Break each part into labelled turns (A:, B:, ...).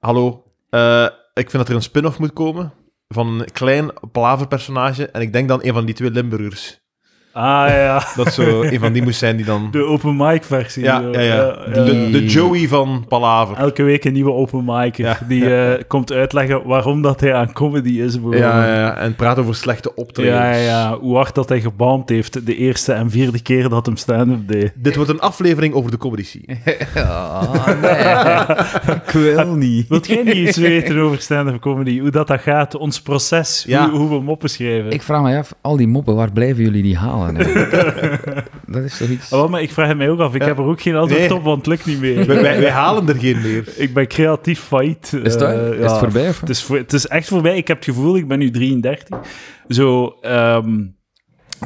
A: hallo, eh, ik vind dat er een spin-off moet komen van een klein plaver personage en ik denk dan een van die twee Limburgers.
B: Ah ja,
A: Dat zo een van die moest zijn die dan...
B: de open mic versie.
A: ja,
B: zo.
A: ja, ja.
B: Eh, eh,
A: De, de Joey van Palaver.
B: Elke week een nieuwe open micer
A: Ja.
B: die eh, komt uitleggen waarom dat hij aan comedy is. bijvoorbeeld.
A: Ja, ja, ja, en praat over slechte optredens.
B: Ja, ja, hoe hard dat hij gebaamd heeft de eerste en vierde keer dat hem stand-up deed.
A: Dit wordt een aflevering over de comedy scene.
C: Ah, nee. ik wil niet.
B: Wilt jij niet iets weten over stand-up comedy? Hoe dat, dat gaat, ons proces,
A: Ja.
B: hoe, hoe we moppen schrijven?
C: Ik vraag me af, al die moppen, waar blijven jullie die halen? eigenlijk? dat is toch iets...
B: Ah, wel, maar ik vraag het mij ook af. Ik
A: Ja.
B: heb er ook geen antwoord
A: Nee.
B: op, want het lukt niet meer.
A: wij, wij, wij halen er geen meer.
B: Ik ben creatief failliet.
C: Is het, waar?
B: Eh,
C: is het
B: ja.
C: voorbij? Of?
B: Het is, voor- het is echt voorbij. Ik heb het gevoel, ik ben nu 33, zo, ehm,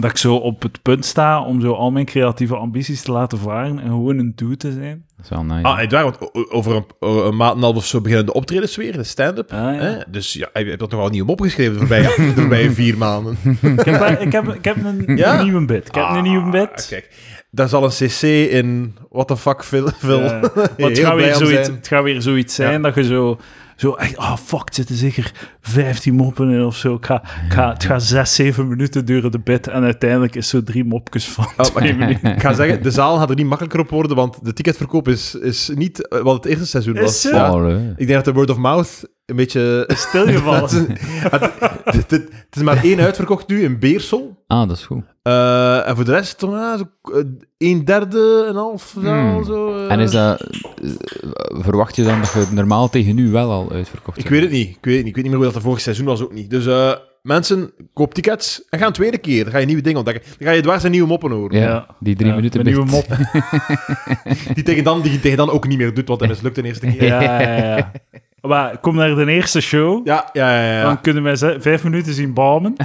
B: dat ik zo op het punt sta om zo al mijn creatieve ambities te laten varen en gewoon een doe te zijn.
C: Dat is wel nice.
A: Ah, echt waar, want o- o- over een, o- een maand en een half of zo beginnen de optredens weer, de stand-up.
B: Ah, ja.
A: Hè? Dus ja, je hebt dat toch al niet opgeschreven de voorbije, de voorbije vier maanden.
B: Ik heb, wel- ik heb, ik heb een,
A: Ja?
B: een nieuwe bed. Ik heb een
A: Ah,
B: nieuwe bed.
A: Kijk, daar zal een cc in what the fuck Phil. Phil.
B: Eh, want het,
A: Heel
B: gaat
A: blij
B: weer
A: om
B: zoiets,
A: zijn.
B: het gaat weer zoiets zijn dat je zo, zo echt, ah fuck, het zitten zeker 15 moppen in of zo. Ik ga, ik ga, het gaat 6, 7 minuten duren de bed en uiteindelijk is zo drie mopjes van.
A: Oh, maar ik, ik ga zeggen, de zaal gaat er niet makkelijker op worden, want de ticketverkoop is, is niet eh, wat het eerste seizoen
B: Is
A: was.
B: ze?
A: Ja.
C: Oh, leuk.
A: Ik denk dat de word of mouth een beetje...
B: Stilgevallen.
A: het, het- het is maar één uitverkocht nu in Beersel.
C: Ah, dat is goed.
A: Eh, en voor de rest, toch, ja, zo, eh, een derde, een half zaal,
C: Hmm.
A: zo. eh.
C: En is dat... eh, Verwacht je dan dat je normaal tegen nu wel al uitverkocht
A: Ik
C: bent?
A: weet het niet. Ik weet, het niet. ik weet niet meer hoe dat de vorig seizoen was ook niet. Dus eh, mensen, koop tickets en ga een tweede keer. Dan ga je nieuwe dingen ontdekken. Dan ga je dwars en nieuwe moppen horen.
C: Ja, die drie
B: Ja,
C: minuten
B: mijn nieuwe
C: bit.
B: mop.
A: Die, tegen dan, die je tegen dan ook niet meer doet, want hij mislukt de eerste keer.
B: Ja, ja, ja. Maar kom naar de eerste show.
A: Ja, ja, ja. ja,
B: Dan kunnen wij ze- vijf minuten zien balmen.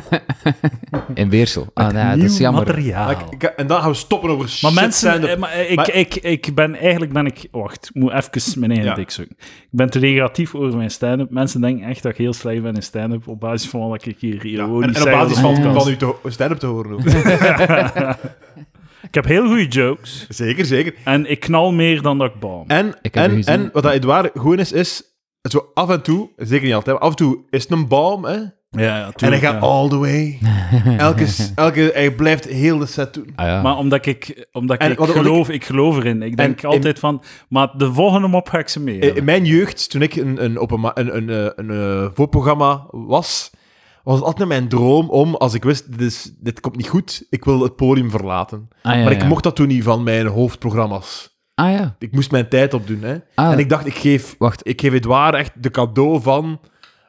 C: In Weersel. Ah, nee,
B: Nieuw
C: dat is jammer.
B: materiaal.
A: Maar ik- ik- en dan gaan we stoppen over shit
B: Maar mensen,
A: stand-up.
B: eh, maar ik,
A: Maar-
B: Ik, ik ben eigenlijk ben ik. Wacht, ik moet even mijn eigen
A: Ja.
B: dik zoeken. Ik ben te negatief over mijn stand-up. Mensen denken echt dat ik heel slecht ben in stand-up. Op basis van wat ik hier
A: Ja,
B: ironisch
A: en, en
B: zeg
A: op
B: als
A: basis
B: een
A: van,
B: podcast.
A: van uw te- stand-up te horen ook.
B: Ik heb heel goede jokes.
A: zeker, zeker.
B: En ik knal meer dan dat ik bal.
A: En,
C: Ik heb
A: en,
C: nu gezien-
A: en wat dat Edouard goed is, is zo af en toe, zeker niet altijd, maar af en toe is het een balm, hè.
B: Ja, ja,
A: En hij
B: tuurlijk,
A: gaat
B: ja.
A: all the way. Elke, s- elke, hij blijft heel de set doen.
C: Ah, ja.
B: Maar omdat ik, omdat
A: En
B: ik,
A: wat- wat ik-
B: geloof, ik... geloof erin. Ik denk
A: in-
B: altijd van, maar de volgende mop ga ik ze mee.
A: In mijn jeugd, toen ik een, een, open ma- een, een, eh, een, eh, voorprogramma was, was het altijd mijn droom om, als ik wist, dit, is, dit komt niet goed, ik wil het podium verlaten.
C: Ah, ja,
A: maar ik
C: ja.
A: mocht dat toen niet van mijn hoofdprogramma's.
C: Ah ja.
A: Ik moest mijn tijd opdoen. Hè.
C: Ah,
A: en ik dacht, ik geef,
C: Wacht.
A: ik geef Edouard echt de cadeau van...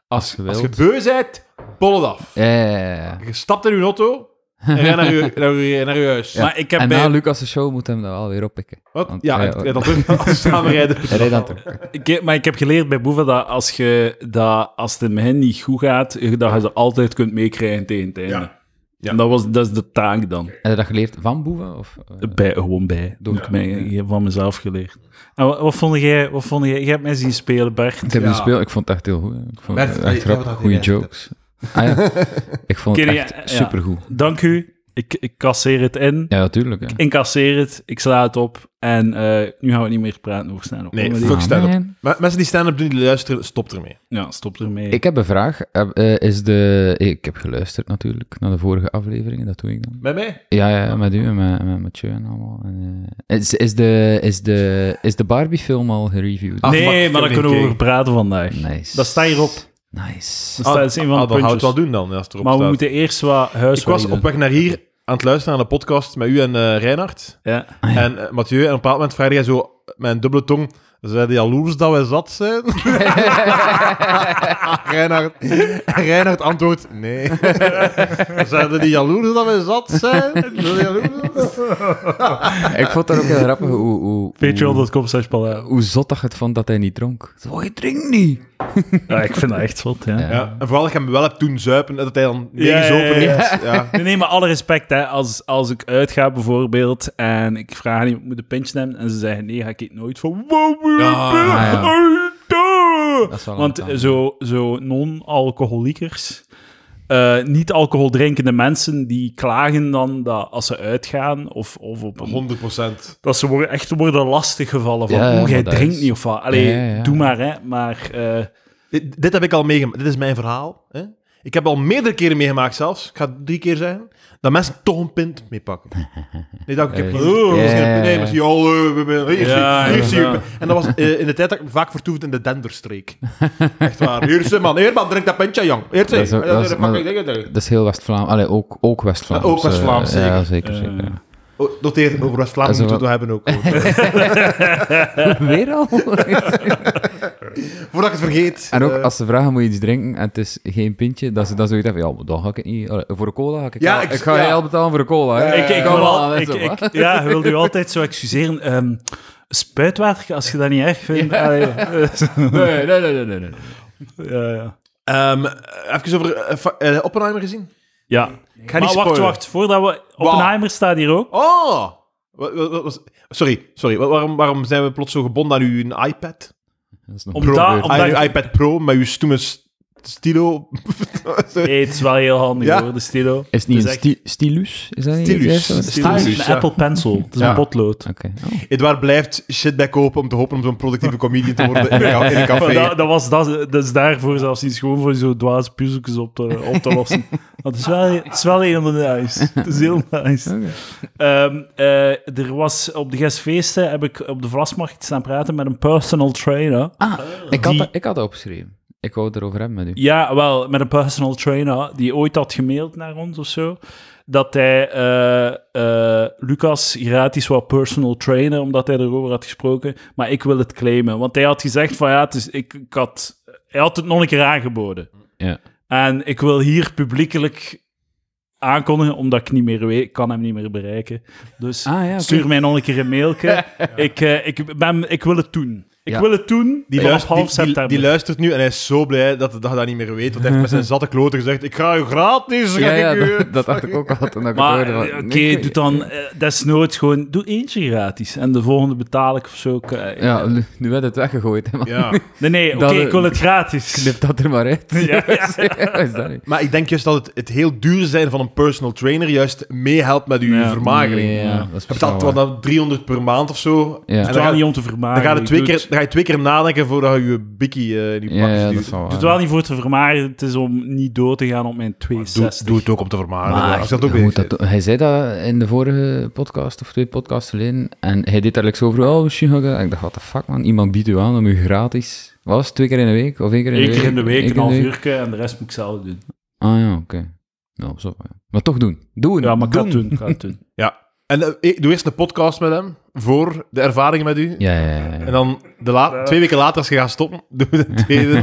A: Als,
C: je
A: als je
C: wilt.
A: beu bent, bol het af.
C: Ja, ja, ja, ja.
A: Je stapt in je auto en ga naar je, naar je, naar je huis.
B: Maar ik heb
C: En
B: bij-
C: na Lucas' show moet hem dat wel weer oppikken.
A: Wat?
C: Want-
A: Ja,
C: ja,
A: en- en dan terug als samenrijden.
C: Hij rijdt dan terug.
B: Ik heb- maar ik heb geleerd bij Boeva dat als, je, dat als het in het begin niet goed gaat, je- dat je ze altijd kunt meekrijgen tegen het einde.
A: Ja. Ja.
B: En dat, was, dat is de taak dan.
C: Heb je dat geleerd van Boeven? Of, eh,
B: Bij, gewoon bij. Dat heb ik mij, van mezelf geleerd. En wat, wat vond jij? Wat vond jij? Jij hebt mij zien spelen, Bert.
C: ik heb
A: Ja.
C: gespeeld, ik vond het echt heel goed. hè. Ik vond
A: Bert,
C: het
A: jij-
C: echt
A: jij hebt
C: grappig,
A: dat
C: goede
A: gedaan.
C: jokes. Ah, ja. Ik vond het
B: Ken je-
C: echt
B: ja.
C: supergoed.
B: Dank u. Ik, ik kasseer het in.
C: Ja, natuurlijk. hè.
B: Incasseer het. Ik sla het op. En eh, nu gaan we niet meer praten over snel.
A: Nee,
B: Comedy.
A: fuck
C: Ah,
A: stand-up.
C: man.
A: Maar mensen die stand-up doen, die luisteren, stop ermee.
B: Ja, stop ermee.
C: Ik heb een vraag. Eh, eh, Is de... Ik heb geluisterd natuurlijk naar de vorige afleveringen, dat doe ik dan.
A: Met mij?
C: Ja, ja, met u en met, met Mathieu en allemaal. En, eh, is, is de, is de, is de Barbie-film al gereviewd?
A: Ah, fuck,
B: nee,
A: ik
B: maar
A: heb
B: daar
A: geen
B: kunnen we
A: idee.
B: over praten vandaag.
C: Nice.
B: Dat staat hierop.
C: Nice.
B: Dat staat, dat is een van de
A: Ah, dan gaan we het
B: puntjes.
A: wel doen dan, als het erop
B: Maar we
A: staat.
B: moeten eerst wat huiswerk
A: Ik was op weg naar hier aan het luisteren naar een podcast met u en eh Reinhard.
B: doen. Ja.
C: Ah, Ja.
A: En eh, Mathieu, en op een bepaald moment vraagde jij zo met een dubbele tong... Zijn die jaloers dat wij zat zijn? Reinhard, en Reinhard antwoordt nee. Zijn die jaloers dat wij zat zijn? Zijn die jaloers?
C: Ik vond dat ook heel grappig hoe... hoe hoe,
B: Patreon.com slash Palau.
C: hoe zot dat je het vond dat hij niet dronk. Zo, hij drinkt niet.
B: Ja, ik vind dat echt zot, ja.
A: Ja, en vooral dat je hem wel hebt toen zuipen en dat hij dan
B: Ja,
A: negen
B: ja,
A: open
B: ja,
A: heeft. Ja.
B: Nee, nee, maar alle respect, hè. Als, als ik uitga bijvoorbeeld en ik vraag aan iemand, moet een pintje nemen? En ze zeggen nee, ga ik het nooit van...
A: Ja,
C: ja.
B: Ah, ja.
C: Dat is wel
B: Want
C: een taal.
B: zo, zo non-alcoholiekers, eh, niet-alcohol drinkende mensen die klagen dan dat als ze uitgaan of, of op een
A: 100 procent.
B: dat ze worden, echt worden lastiggevallen van,
C: Ja, ja,
B: oeh,
C: maar
B: jij
C: dat
B: drinkt
C: is-
B: niet of wat. Allee,
C: Ja, ja, ja.
B: doe maar, hè. Maar eh,
A: Dit, dit heb ik al meegemaakt. Dit is mijn verhaal. Hè? Ik heb al meerdere keren meegemaakt zelfs. Ik ga het drie keer zeggen. Dat mensen toch een pint meepakken. Nee, dat ik heb
C: Eh,
A: gezien. Oh,
C: ja.
A: misschien een pint. Nee, misschien al. eh, we- we- Hier
B: Ja,
A: zie- hier zie
B: ja.
A: je. En dat was eh, in de tijd dat ik vaak vertoefde in de Denderstreek. Echt waar. Hier is man. Hier man, drink dat pintje, jong. Hier
C: Dat
A: zie
C: is ook- dat is-
A: je.
C: Dat is heel West-Vlaam. Allee, ook, ook West-Vlaam.
A: Ja, ook West-Vlaams,
C: Eh, Ja,
A: zeker.
C: zeker,
B: Eh.
C: zeker.
A: Oh, Noteer, over West-Vlaanderen
C: Dat
A: moeten
C: is
A: we het hebben ook.
C: Weer al?
A: Voordat ik het vergeet.
C: en ook
A: eh,
C: als ze vragen, moet je iets drinken, en het is geen pintje, dat ze dan zoiets hebben, ja, maar dan ga ik het niet... Allee, voor een cola ga ik het
A: Ja,
C: wel-
A: ik-
C: ik, ga
A: ja.
C: je al betalen voor een cola, hè.
B: ik, ik,
C: Kom
A: Eh,
B: wil
C: aan,
B: al, ik,
C: zo,
B: ik-
C: hè.
B: ja, wilde u altijd zo excuseren. ehm, spuitwater, als je dat niet erg vindt. Allee, eh,
C: Nee, nee, nee, nee, nee, nee.
B: ja, ja.
A: ehm, even over eh, fa- eh, Oppenheimer gezien.
B: ja.
A: Ik ga
B: Maar
A: niet
B: wacht,
A: spoilen.
B: wacht. Voordat we... Oppenheimer staat hier ook.
A: Oh! Wa- wa- wa- was- sorry, sorry. Wa- Waarom, waarom zijn we plots zo gebonden aan uw iPad?
C: Dat is nog
B: Omdat-
C: gebeurd.
B: om-
A: Aan uw
B: je-
A: iPad Pro met uw stoeme s- stilo.
B: Hey, het is wel heel handig
A: Ja.
B: hoor, de stilo.
C: Is het niet
B: Het
C: een
B: is
C: sti- stylus? Is dat niet
A: Stylus.
C: het eerste?
A: Stylus.
B: Het is
A: Stylus,
B: een
A: ja.
B: Apple Pencil. Het is
C: Ja.
B: een potlood.
C: Oké. Oh.
A: Edouard blijft shit bij kopen om te hopen om zo'n productieve comedian te worden in een, in een
B: Maar
A: café.
B: dat, dat, was, dat, dat is daarvoor zelfs niet gewoon voor zo dwaas puzzeltjes op te, op te lossen. Dat is wel, het is wel heel nice. Het is heel nice.
C: oh, Oké.
B: Ehm, eh, er was op de gastfeesten heb ik op de Vlasmarkt staan praten met een personal trainer.
C: Ah, ik had,
B: Die-
C: dat, ik had dat opgeschreven. Ik wou het erover hebben met u.
B: Ja, wel, met een personal trainer die ooit had gemaild naar ons of zo. Dat hij eh, eh, Lucas gratis wou personal trainen, omdat hij erover had gesproken. Maar ik wil het claimen. Want hij had gezegd van ja, het is, ik, ik had, hij had het nog een keer aangeboden.
C: Ja.
B: En ik wil hier publiekelijk aankondigen, omdat ik niet meer weet, ik kan hem niet meer bereiken. Dus
C: Ah, ja, oké.
B: stuur mij nog een keer een mailtje. ik, eh, ik, ben, ik wil het doen. Ik
C: Ja.
B: wil het doen.
A: Die,
B: vanaf
A: luist- die-
B: half
A: die- die,
B: september.
A: luistert nu en hij is zo blij dat dat hij dat niet meer weet. Want hij heeft met zijn zatte kloten gezegd: Ik ga u gratis. Ga
C: Ja, ja,
A: ik u-
C: dat, dat dacht ik ook al toen ik het
B: Maar
C: hoorde.
B: eh,
C: van,
B: oké,
C: nee,
B: doe dan eh, desnoods gewoon... Doe eentje gratis en de volgende betaal ik of zo. Ik, eh,
C: Ja, nu, nu werd het weggegooid. hè, maar
A: Ja.
B: Nee, nee, oké,
C: Dan, eh,
B: ik wil het gratis.
C: Knip dat er maar uit.
B: Ja, ja.
C: Wat is dat nu?
A: Maar ik denk juist dat het, het heel duur zijn van een personal trainer juist meehelpt met uw
B: Ja.
A: vermagering.
C: Ja, dat is
A: Je betaalt
C: wel
A: wel dan 300 per maand of zo.
C: Ja.
B: Het
A: En
B: is
A: dan,
B: wel
A: ga,
B: niet om te
A: dan,
B: vermaken.
A: ga je
B: Ik
A: twee
B: doe
A: keer,
B: het-
A: dan ga je twee keer nadenken voordat je je bikkie eh, in je
C: Ja,
A: pakje
C: ja, dat
A: duwt.
C: is wel
B: Ik doe het
C: waar.
B: wel niet voor te vermaken. Het is om niet dood te gaan op mijn
A: doe,
B: 62.
A: doe het ook om te
B: Ah,
A: vermagen.
C: Maar
A: als je dat ook
C: je moet
A: weet.
C: dat- hij zei dat in de vorige podcast of twee podcasts geleden. En hij deed daar like zo over, oh, misschien ga ik dat- En ik dacht, what the fuck man, iemand biedt u aan om u gratis... Wat was het, twee keer in de week? Of één keer in de
B: Eén
C: week?
B: keer in de
C: Eén
B: week,
C: keer
B: een half uurtje en de rest moet ik zelf doen.
C: Ah ja, oké. Nou, zo. ja. Maar toch doen. Doen.
B: Ja, maar ik ga
C: doen.
B: het doen. ik ga het doen.
A: En eh, eh, doe eerst een podcast met hem voor de ervaringen met u.
C: Ja, ja, ja, ja.
A: En dan de la- twee weken later, als je gaat stoppen, doe de tweede.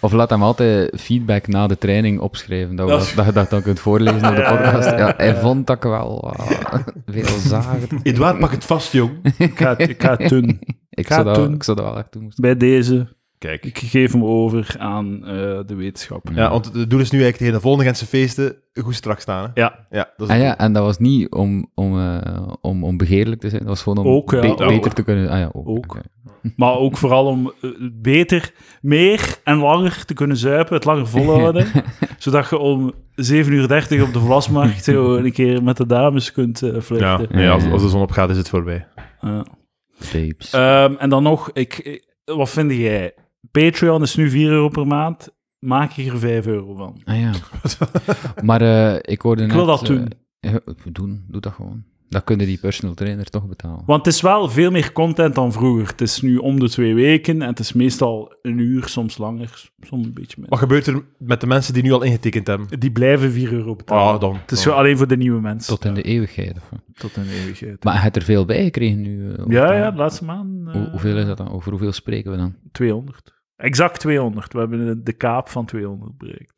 C: Of laat hem altijd feedback na de training opschrijven, dat, we
B: Dat-
C: dat, dat je dat dan kunt voorlezen op de
B: Ja, ja, ja,
C: podcast.
B: ja.
C: Ja, hij vond dat ik wel ah, veel zagen.
A: Edouard, pak het vast, jong.
B: Ik ga het- ik ga het doen.
C: Ik
B: Ga
C: zou, dat,
B: doen.
C: ik zou dat wel echt doen.
B: Bij deze.
A: Kijk.
B: Ik geef hem over aan eh, de wetenschap.
A: Ja, want het doel is nu eigenlijk tegen de volgende Gentse feesten goed strak staan. Hè?
B: Ja.
A: Ja, dat is
C: En Ah ja, en dat was niet om, om, eh, om, om begeerlijk te zijn, dat was gewoon om
B: Ook, ja,
C: be-
B: ook.
C: beter te kunnen... Ah ja, ook.
B: Ook.
C: oké.
B: Maar ook vooral om eh, beter, meer en langer te kunnen zuipen, het langer volhouden. zodat je om 7.30 uur op de Vlasmarkt zo een keer met de dames kunt eh flirten.
C: nee, als- als
A: de zon opgaat, is het voorbij.
B: Ja.
C: Tapes.
B: Ehm, en dan nog, ik, ik- wat vind jij? Patreon is nu 4 euro per maand. Maak je er 5 euro van.
C: ah ja. maar eh, ik hoorde
B: Ik wil
C: net,
B: dat doen.
C: eh, ja, doen. Doe dat gewoon. Dat kunnen die personal trainer toch betalen.
B: Want het is wel veel meer content dan vroeger. Het is nu om de twee weken en het is meestal een uur, soms langer, soms een beetje minder.
A: Wat gebeurt er met de mensen die nu al ingetekend hebben?
C: Oh.
B: Die blijven 4 euro betalen.
A: Ah, dan.
B: Het is gewoon alleen voor de nieuwe mensen.
C: Tot in de eeuwigheid. Of, wat.
B: Tot een eeuwigheid.
C: maar je hebt er veel bij gekregen nu. eh, op
B: Ja,
C: het-
B: ja, de laatste maand. eh,
C: Hoe- hoeveel is dat dan? Over hoeveel spreken we dan?
B: 200. Exact 200. We hebben de- de kaap van 200 bereikt.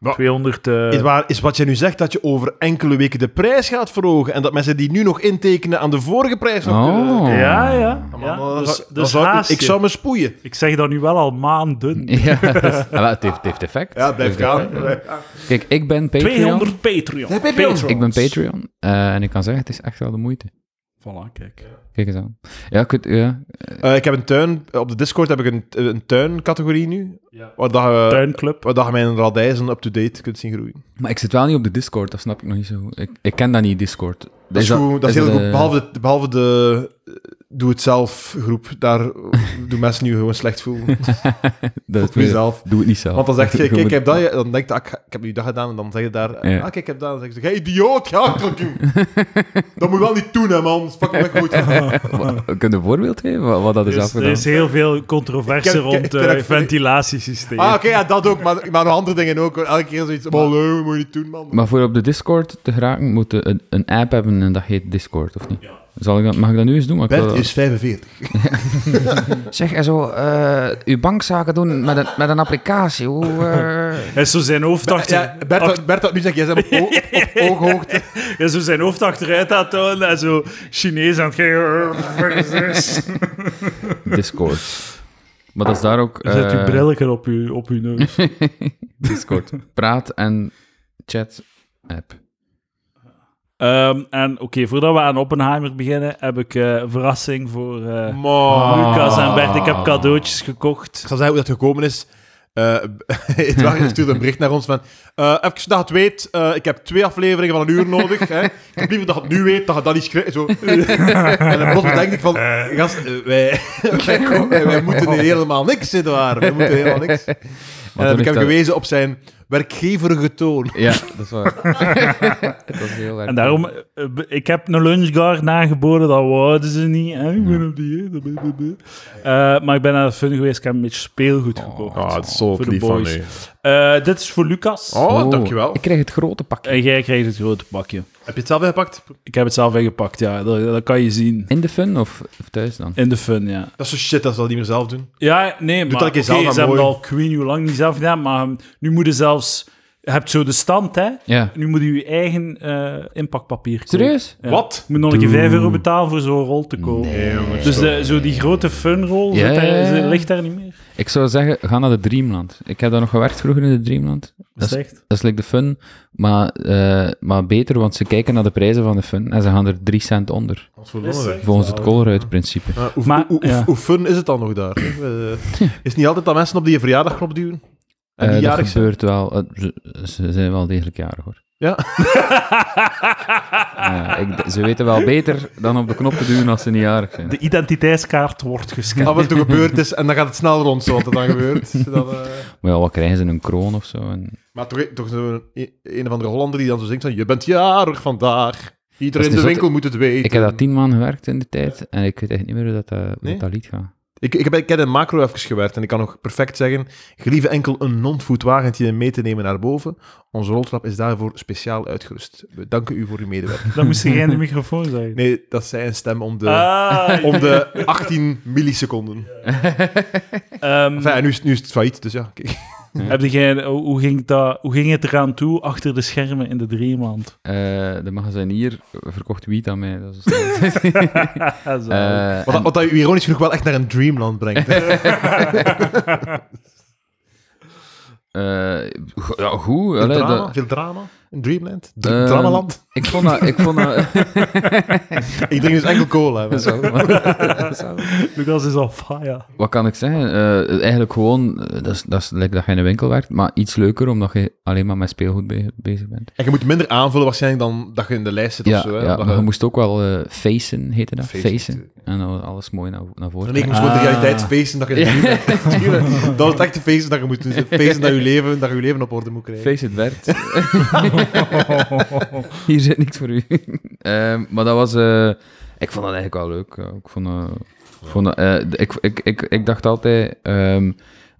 A: Wa-
B: 200. eh,
A: Edouard, is wat jij nu zegt dat je over enkele weken de prijs gaat verhogen en dat mensen die nu nog intekenen aan de vorige prijs nog kunnen-
C: Oh.
B: ja, ja.
A: Man,
B: ja.
A: dan
B: Dus,
A: zou- dan
B: dus
A: zou ik-
B: haast
A: ik
B: je.
A: zou me spoeien.
B: Ik zeg dat nu wel al maanden.
C: Ja, dat is- ah, wel, het, heeft, het heeft effect.
A: Ja, blijf
C: Het heeft
A: gaan.
C: effect, ja. Kijk, ik ben Patreon.
B: 200 Patreon.
A: Ja, Patreon.
C: Ik ben Patreon. eh, en ik kan zeggen, het is echt wel de moeite.
B: Voilà, kijk.
C: Kijk eens aan. Ja, ik, weet- ja.
A: Eh, ik heb een tuin, op de Discord heb ik een, een tuincategorie nu,
B: Ja.
A: waar, dat je,
B: Tuinclub.
A: waar dat je mijn radijzen up-to-date kunt zien groeien.
C: Maar ik zit wel niet op de Discord, dat snap ik nog niet zo goed. Ik, ik ken dat niet, Discord.
A: Dat is, goed, dat is heel
C: dat,
A: goed.
C: eh,
A: Behalve de, behalve de eh, doe-het-zelf-groep, daar doen mensen nu gewoon slecht voelen.
C: dat is
A: Op jezelf.
C: Doe het niet zelf.
A: Want dan zeg je,
C: Gewoon-
A: kijk, ik heb dat, je- dan denk je, ah, ik ga- ik heb nu dat gedaan, en dan zeg je daar, eh,
C: Ja.
A: ah, kijk, ik heb dat, dan zeg je, hey, idioot, ga ik dat doen. dat moet je wel niet doen, hè, man. Fuck me goed.
C: Wa- Kun je een voorbeeld geven wat, wat dat is
B: Dus er
C: afgedaan?
B: is heel veel controverse
A: Ik heb- ik heb-
B: rond
A: ik heb-
B: eh ventilatiesysteem.
A: Ah, oké, ja, dat ook, maar, maar nog andere dingen ook. hoor. Elke keer zoiets, maar nee, moet je niet doen, man.
C: Maar voor op de Discord te geraken, moet je een, een app hebben en dat heet Discord, of niet? Zal ik dat, mag ik dat nu eens doen? eh, Maar ik wil-
A: 45.
D: Zeg, en zo, eh, uw bankzaken doen met een, met een applicatie. Hoe, eh,
B: En zo zijn hoofd achter...
A: Ja, Bert, had- Bert had nu zeg jij zijn op, oog- op ooghoogte.
B: en zo zijn hoofd achteruit aan het houden en zo Chinees aan het geven.
C: Discord. Maar dat is daar ook...
B: Zet
C: eh,
B: uw brilletje op uw, op uw neus.
C: Discord. Praat en chat app.
B: Ehm, en oké, voordat we aan Oppenheimer beginnen, heb ik eh, een verrassing voor eh,
A: Ah.
B: Lucas en Bert. Ik heb cadeautjes gekocht.
A: Ik zal zeggen hoe dat gekomen is. Eh Edouard stuurde een bericht naar ons van... eh even dat je het weet, eh, ik heb twee afleveringen van een uur nodig. Hè. Ik heb liever dat je het nu weet, dat je dat niet schrijft. Zo. en dan plots denk ik van... Gast, eh, wij, wij, komen- wij moeten hier helemaal niks, Edouard. Wij moeten helemaal niks. En dan heb ik
C: heeft
A: hem
C: dat-
A: gewezen op zijn werkgeverige toon.
C: Ja, dat is waar. dat is heel erg.
B: En daarom, eh, eh, ik heb een lunchguard nageboden, dat wouden ze niet. Hè? Ik ben op die. maar ik ben naar de fun geweest, ik heb een beetje speelgoed gekocht.
A: Ah,
B: Voor de boys. Eh, dit is voor Lucas.
A: Oh, dankjewel.
C: Ik kreeg het grote pakje.
B: En jij krijgt het grote pakje.
A: Heb je het zelf ingepakt?
B: Ik heb het zelf ingepakt, ja. Dat, dat kan je zien.
C: In de fun of of thuis dan?
B: In de fun, ja.
A: Dat is zo shit, dat zal niet meer zelf doen.
B: Ja, nee, maar
A: dat een keer
B: oké,
A: zelf, maar
B: ze hebben
A: mooi.
B: het al ik weet niet hoe lang niet zelf gedaan, maar ehm, nu moet je zelfs... Je hebt zo de stand, hè.
C: Ja.
B: Nu moet je je eigen eh, inpakpapier kopen.
C: Serieus?
B: Ja.
A: Wat?
B: Je moet nog een keer 5 euro betalen voor zo'n rol te kopen. dus de, zo die grote funrol
C: Ja,
B: zit daar-
C: ja, ja.
B: ze- ligt daar niet meer.
C: Ik zou zeggen, ga naar de Dreamland. Ik heb daar nog gewerkt vroeger in de Dreamland.
B: Dat is
C: Dat
B: echt.
C: Dat is like de fun, maar, eh, maar beter, want ze kijken naar de prijzen van de fun en ze gaan er 3 cent onder.
A: Wat voor
B: Is
A: lullen,
B: er?
C: Volgens het Colruyt-principe.
A: Eh, hoe,
B: Maar-
A: hoe, hoe-
B: ja.
A: hoe fun is het dan nog daar? Eh, is het niet altijd dat mensen op die je verjaardagknop duwen? En die
C: Eh, dat
A: jarig zijn?
C: gebeurt wel. Eh, ze, ze zijn wel degelijk jarig, hoor.
A: Ja.
C: Eh, ik, ze weten wel beter dan op de knop te duwen als ze niet jarig zijn.
B: De identiteitskaart wordt gescand.
A: Af en toe gebeurd is en dan gaat het snel rond, zo wat er dan gebeurt. Dat, eh,
C: Maar ja, wat krijgen ze? Een kroon of zo? En...
A: Maar toch, toch zo'n een, een of andere Hollander die dan zo zingt van je bent jarig vandaag. Iedereen in
C: Dat is
A: de
C: niet
A: winkel moet het weten.
C: Ik heb dat tien maanden gewerkt in de tijd en ik weet echt niet meer hoe dat, eh, hoe
A: Nee?
C: dat lied gaat.
A: Ik, ik heb, ik heb in macro even gewerkt en ik kan nog perfect zeggen, gelieve enkel een non-food wagentje mee te nemen naar boven. Onze roltrap is daarvoor speciaal uitgerust. We danken u voor uw medewerking.
B: Dan moest je geen de microfoon zijn.
A: Nee, dat is zijn stem om de,
B: Ah,
A: om de 18 milliseconden.
B: ehm,
A: Enfin, en nu, is- nu is het failliet, dus ja. kijk.
B: heb jij, hoe, hoe ging dat, hoe ging het eraan toe achter de schermen in de Dreamland?
C: Eh, de magazinier verkocht wiet aan mij. Dat is Eh,
B: Ah, zo.
A: Wat, dat- wat dat u ironisch genoeg wel echt naar een dreamland brengt. hè.
C: eh, go- ja, goed.
A: Veel
C: allee,
A: drama,
C: dat-
A: veel drama in dreamland. Dr
C: Eh,
A: dramaland.
C: Ik vond dat... Ik vond dat
A: Ik drink dus enkel cola. hè.
C: Zo, maar- zo.
B: Lucas is al fire.
C: Wat kan ik zeggen? Eh, eigenlijk gewoon, eh, dat is, dat is lekker dat je in een winkel werkt, maar iets leuker omdat je alleen maar met speelgoed be- bezig bent.
A: En je moet minder aanvullen waarschijnlijk dan dat je in de lijst zit
C: Ja,
A: of zo. Hè?
C: ja
A: Dat
C: maar je
A: je-
C: moest ook wel eh facen, heette dat?
A: Facen.
C: Facen. En dan alles mooi naar, naar voren.
A: Nee, ik moest
C: trekken.
A: gewoon de
B: Ah.
A: realiteit feesten dat je in de dreamland Dat was het echte feesten dat je moet doen. Feesten dat je leven, dat je leven op orde moet krijgen.
C: Face it, Bert. Hier zit niks voor u. Ehm, maar dat was... eh, ik vond dat eigenlijk wel leuk. ja. Ik, vond, eh, ik vond dat, eh, ik, ik, ik, ik dacht altijd... ehm,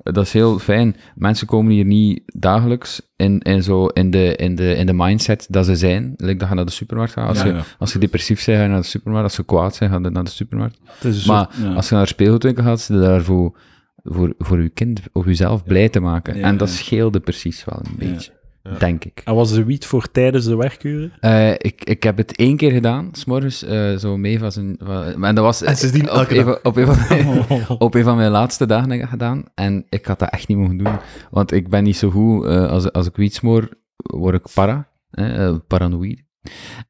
C: dat is heel fijn. Mensen komen hier niet dagelijks in, in, zo, in, de, in, de, in de mindset dat ze zijn. Like dat je naar de supermarkt gaat. Als,
B: Ja,
C: je,
B: ja.
C: als je depressief bent, ga je naar de supermarkt. Als je kwaad bent, ga je naar de supermarkt.
B: Het is een soort-
C: Maar
B: ja.
C: als je naar een speelgoedwinkel gaat, zit je daar voor, voor, voor je kind of jezelf blij te maken.
B: Ja,
C: en dat
B: ja.
C: scheelde precies wel een beetje, denk ik.
B: En was de wiet voor tijdens de werkuren?
C: Eh, ik. Ik heb het één keer gedaan, s'morgens, eh zo mee van zijn... van- en dat was
A: En sindsdien
C: op,
A: elke
C: een,
A: dag.
C: van- op, een van mijn, op een van mijn laatste dagen heb ik dat gedaan. En ik had dat echt niet mogen doen, want ik ben niet zo goed. eh, als, als ik wiet smoor, word ik para, eh, eh, paranoïde.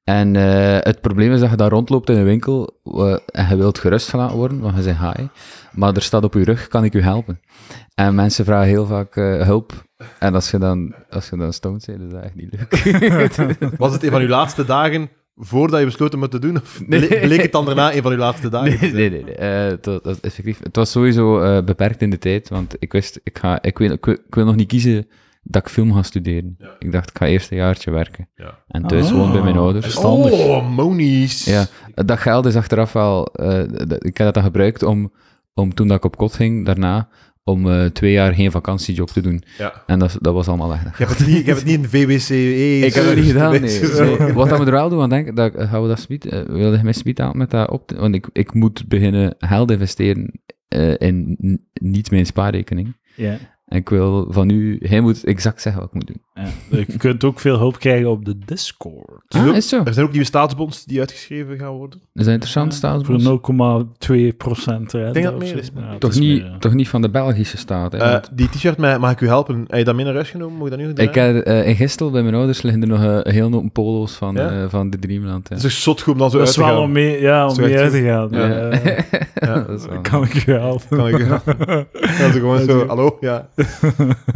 C: En eh, het probleem is dat je daar rondloopt in een winkel eh, en je wilt gerustgelaten worden, want je zegt hi. Maar er staat op je rug, kan ik u helpen? En mensen vragen heel vaak eh, hulp. En als je dan, als je dan stoned bent, is dat echt niet leuk.
A: Was het een van uw laatste dagen voordat je besloot om het te doen? Of
C: Nee.
A: ble- bleek het dan daarna een van uw laatste dagen?
C: Nee, nee, nee. nee. Eh, het was- dat is effectief. Het was sowieso eh, beperkt in de tijd, want ik wist, ik, ga, ik, wil, ik, wil, ik wil nog niet kiezen dat ik film ga studeren.
A: Ja.
C: Ik dacht, ik ga eerst een jaartje werken.
A: Ja.
C: En thuis
B: Ah.
C: woon bij mijn ouders.
B: Verstandig.
A: Oh, monies.
C: Ja, dat geld is achteraf wel... eh, dat- ik heb dat dan gebruikt om, om, toen dat ik op kot ging, daarna, om eh, twee jaar geen vakantiejob te doen.
A: Ja.
C: En dat, is- dat was allemaal weg.
A: Ik heb het niet, ik heb het niet in VWCE.
C: Ik heb dat niet gedaan, nee.
A: E Zo.
C: Nee. Wat dat we er wel doen, want denk ik, dat, eh, gaan we dat smiet, eh, wilde je mij smiet aan met dat op te- Want ik, ik moet beginnen geld investeren eh, in n- niet mijn spaarrekening.
B: Ja.
C: En ik wil van u, hij moet exact zeggen wat ik moet doen.
B: Je kunt ook veel hulp krijgen op de Discord.
A: Er zijn
C: Ah,
A: Dus ook-
C: is zo.
A: Er zijn ook nieuwe staatsbonds die uitgeschreven gaan worden.
C: Is dat interessant,
B: Voor
C: staatsbos?
B: 0,2 procent. Ik
A: denk dat meer eh, is, maar-
C: toch, niet, toch niet van de Belgische staat, hè?
A: Eh,
C: want-
A: die t-shirt, met- mag ik u helpen? Heb je dat mee naar huis genomen? Moet ik dat nu nog
C: Ik
A: draaien?
C: heb eh, in Gistel bij mijn ouders liggen er nog eh, een heel hoop polo's van,
A: Ja? Dus-
C: eh, van de Dreamland. Ja.
A: Het is echt zot goed om dan zo
B: Dat
A: uit
B: is
A: te
B: wel om
A: gaan.
B: mee, ja, om
A: Zo echt
B: mee uit
A: goed.
B: te gaan.
C: Ja.
B: Eh,
A: Ja,
C: Dat is wel-
B: kan ik je helpen?
A: kan ik ja. Ja, zo gewoon zo, hallo, ja.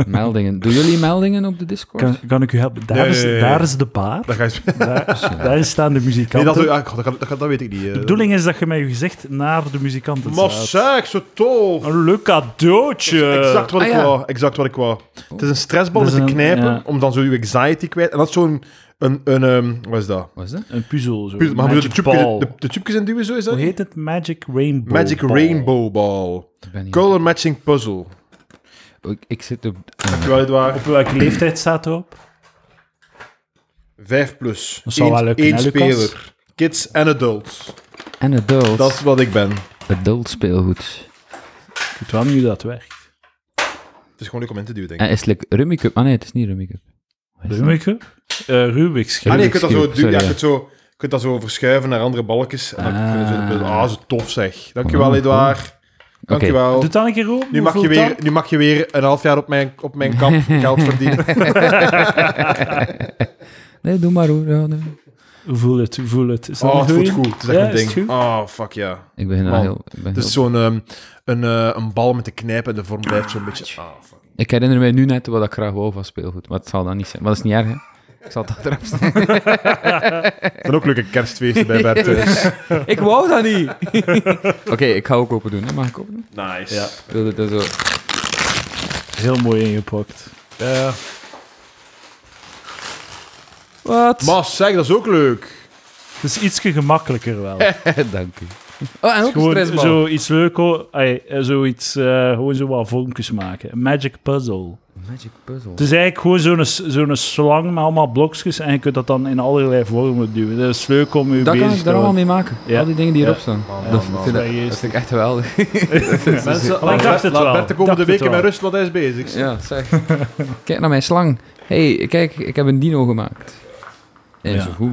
C: Meldingen. Doen jullie meldingen op de Discord?
B: Kan, kan ik u helpen? Daar,
A: Nee,
B: is,
A: nee, nee, nee.
B: daar is de bar.
A: Dat ga je...
B: Daar, daar staan de
A: Nee,
B: muzikanten.
A: dat, doe- ah, god, dat, kan- dat, kan- dat weet ik niet. eh.
B: de bedoeling is dat je met je gezicht naar de muzikanten
A: Maar
B: staat.
A: zeg, zo tof.
B: Een leuk cadeautje.
A: Exact wat ik
C: Ah, ja.
A: wou. Exact wat ik wou. Het is een stressbal
B: Dat
A: met
B: is
A: te
B: een-
A: knijpen,
B: ja.
A: om dan zo je anxiety kwijt... En dat is zo'n... Een, een, ehm, wat is dat?
C: Wat is dat?
B: Een puzzel. Zo.
A: Puur- Maar moet je de
B: Magic ball.
A: tubekjes- de- de tubekjes in duwen, zo is dat?
B: Hoe heet Hm. het? Magic Rainbow
A: Magic
B: Ball.
A: Rainbow Ball.
C: Ik ben hier-
A: Color matching puzzle.
C: Ik, ik zit op...
A: Terwijl het waar.
B: Op welke leeftijd staat erop?
A: 5 plus.
B: Dat zou
A: Eén-
B: wel lukken,
A: één
B: hè, Lucas?
A: speler. Kids en adults.
C: En adult.
A: Dat is wat ik ben.
C: Adult speelgoed.
B: Ik weet wel niet hoe dat werkt.
A: Het is gewoon leuk om in te duwen, denk ik.
C: En is het like Rummy Cup? Ah nee, het is niet Rummy Cup. Wat is dat?
B: Rubik's Cube? Eh, Rubik's Cube.
A: ah nee, je kunt dat zo,
C: Rubik's
A: duwen.
C: Cube,
A: ja, je
C: sorry,
A: kunt zo, je kunt dat zo verschuiven naar andere balkjes. En dan
C: Ah.
A: kunnen ze de puzzle- Ah, zo tof zeg. Dankjewel,
C: Oh,
A: Edouard. Dankjewel.
B: Doe dan een keer op.
A: Nu mag, je weer, nu mag je weer een half jaar op mijn, op mijn kamp geld verdienen.
C: Nee, doe maar hoor. Ja, nee.
B: Voel het, voel het. Is dat
A: Oh,
B: een
A: het
B: goeie?
A: voelt goed. Het is echt
B: Ja,
A: een
B: is het
A: ding.
B: goed?
A: Oh, fuck ja.
C: Ik begin al
A: Man.
C: heel... Ik, ben
A: Het
C: heel-
A: is zo'n ehm, een, eh, een bal met de knijp en de vorm blijft zo'n beetje... Ah, fuck.
C: ik herinner mij nu net wat ik graag wou van speelgoed. Maar het zal dat niet zijn. Maar dat is niet erg, hè. Ik zal het achteraf zeggen.
A: En ook leuke kerstfeesten bij Bert dus. thuis.
C: Ik wou dat niet. Oké, ik ga ook open doen. Hè. Mag ik open doen?
A: Nice.
B: Ja.
C: Ik wil dit dan zo...
B: Heel mooi ingepakt.
A: Eh,
C: Wat?
A: maar zeg, dat is ook leuk.
B: Het is ietsje gemakkelijker wel.
C: Dank u. Oh, en ook een
B: gewoon
C: stressbal.
B: zoiets leuk, hoor. Ai, eh, zoiets, eh, gewoon zo wat vormpjes maken. Een Magic puzzle.
C: Magic puzzle.
B: Het is eigenlijk gewoon zo'n zo'n slang met allemaal blokjes en je kunt dat dan in allerlei vormen duwen. Dat is leuk om je
C: Dat
B: bezig
C: kan ik
B: te
C: daar allemaal
B: houden.
C: mee maken.
B: Ja.
C: Al die dingen die
B: Ja.
C: erop staan.
A: Man,
C: dat,
A: man,
C: vind
B: man.
C: ik, dat vind ik echt geweldig.
A: Mensen,
B: Maar ik
A: laat-
B: dacht het
A: laat Bert
B: wel.
A: de
B: Ik dacht
A: komende
B: het
A: weken
B: wel.
A: met rust, want hij is bezig.
C: Ja, zeg. kijk naar mijn slang. hey, kijk, ik heb een dino gemaakt. En
B: Ja.
C: zo goed.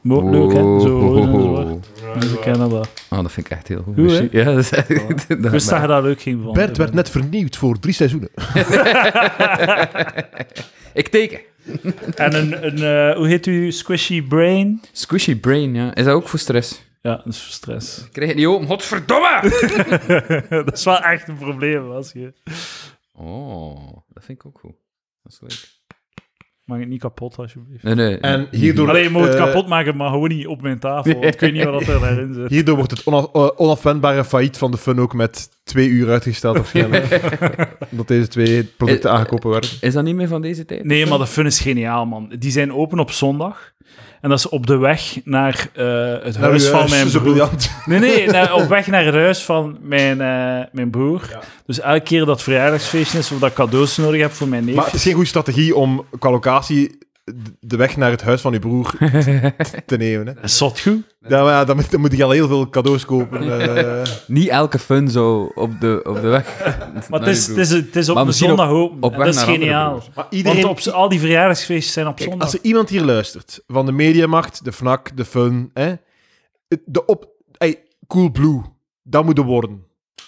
B: Maar ook leuk, hè? Zo rood en
C: Oh, oh,
B: zwart. Mensen kennen dat.
C: oh, dat vind ik echt heel goed.
B: Goed, hè?
C: Merci. Ja, dat is echt...
B: Ik wist dat je dat leuk ging van.
A: Bert werd net vernieuwd voor drie seizoenen.
C: Ik teken.
B: En een, een eh, hoe heet u? Squishy Brain?
C: Squishy brain, ja. Is dat ook voor stress?
B: Ja, dat is voor stress.
C: Ik krijg het niet open. Godverdomme!
B: dat is wel echt een probleem als je...
C: oh, dat vind ik ook goed. Dat is leuk.
B: Maak het niet kapot, alsjeblieft.
C: Nee, nee.
A: En hierdoor,
B: Alleen je mag het
A: eh,
B: kapot maken, maar gewoon niet op mijn tafel. want ik weet niet wat er daarin zit.
A: hierdoor wordt het ona- eh, onafwendbare failliet van de fun ook met twee uur uitgesteld waarschijnlijk. Omdat deze twee producten
C: Eh,
A: aangekopen werden.
C: Is dat niet meer van deze tijd?
B: Nee, maar de fun is geniaal, man. Die zijn open op zondag. En dat is op de weg naar eh,
A: Nou,
B: het huis
A: eh,
B: van mijn
A: zo
B: broer.
A: briljant.
B: Nee, nee, naar- op weg naar het huis van mijn, eh, mijn broer. Dus elke keer dat verjaardagsfeestje is of dat ik cadeaus nodig heb voor mijn neef.
A: Maar het is geen goede strategie om qua locatie d- de weg naar het huis van je broer t- te nemen. Hè.
B: Zot goed.
A: Ja, maar ja, dan, moet- dan moet je al heel veel cadeaus kopen. eh.
C: Niet elke fun zo op de, op de weg.
B: Maar het is, het is, het is op
C: Maar
B: een
C: misschien op-
B: zondag open.
C: op
B: En
C: weg
B: dat is
C: naar andere
B: geniaal.
C: broers.
A: maar iedereen,
B: Want op, al die verjaardagsfeestjes zijn op
A: Kijk,
B: zondag.
A: als er iemand hier luistert, van de mediamacht, de FNAC, de Fun, hè, de op... Hey, cool Blue, dat moet er worden.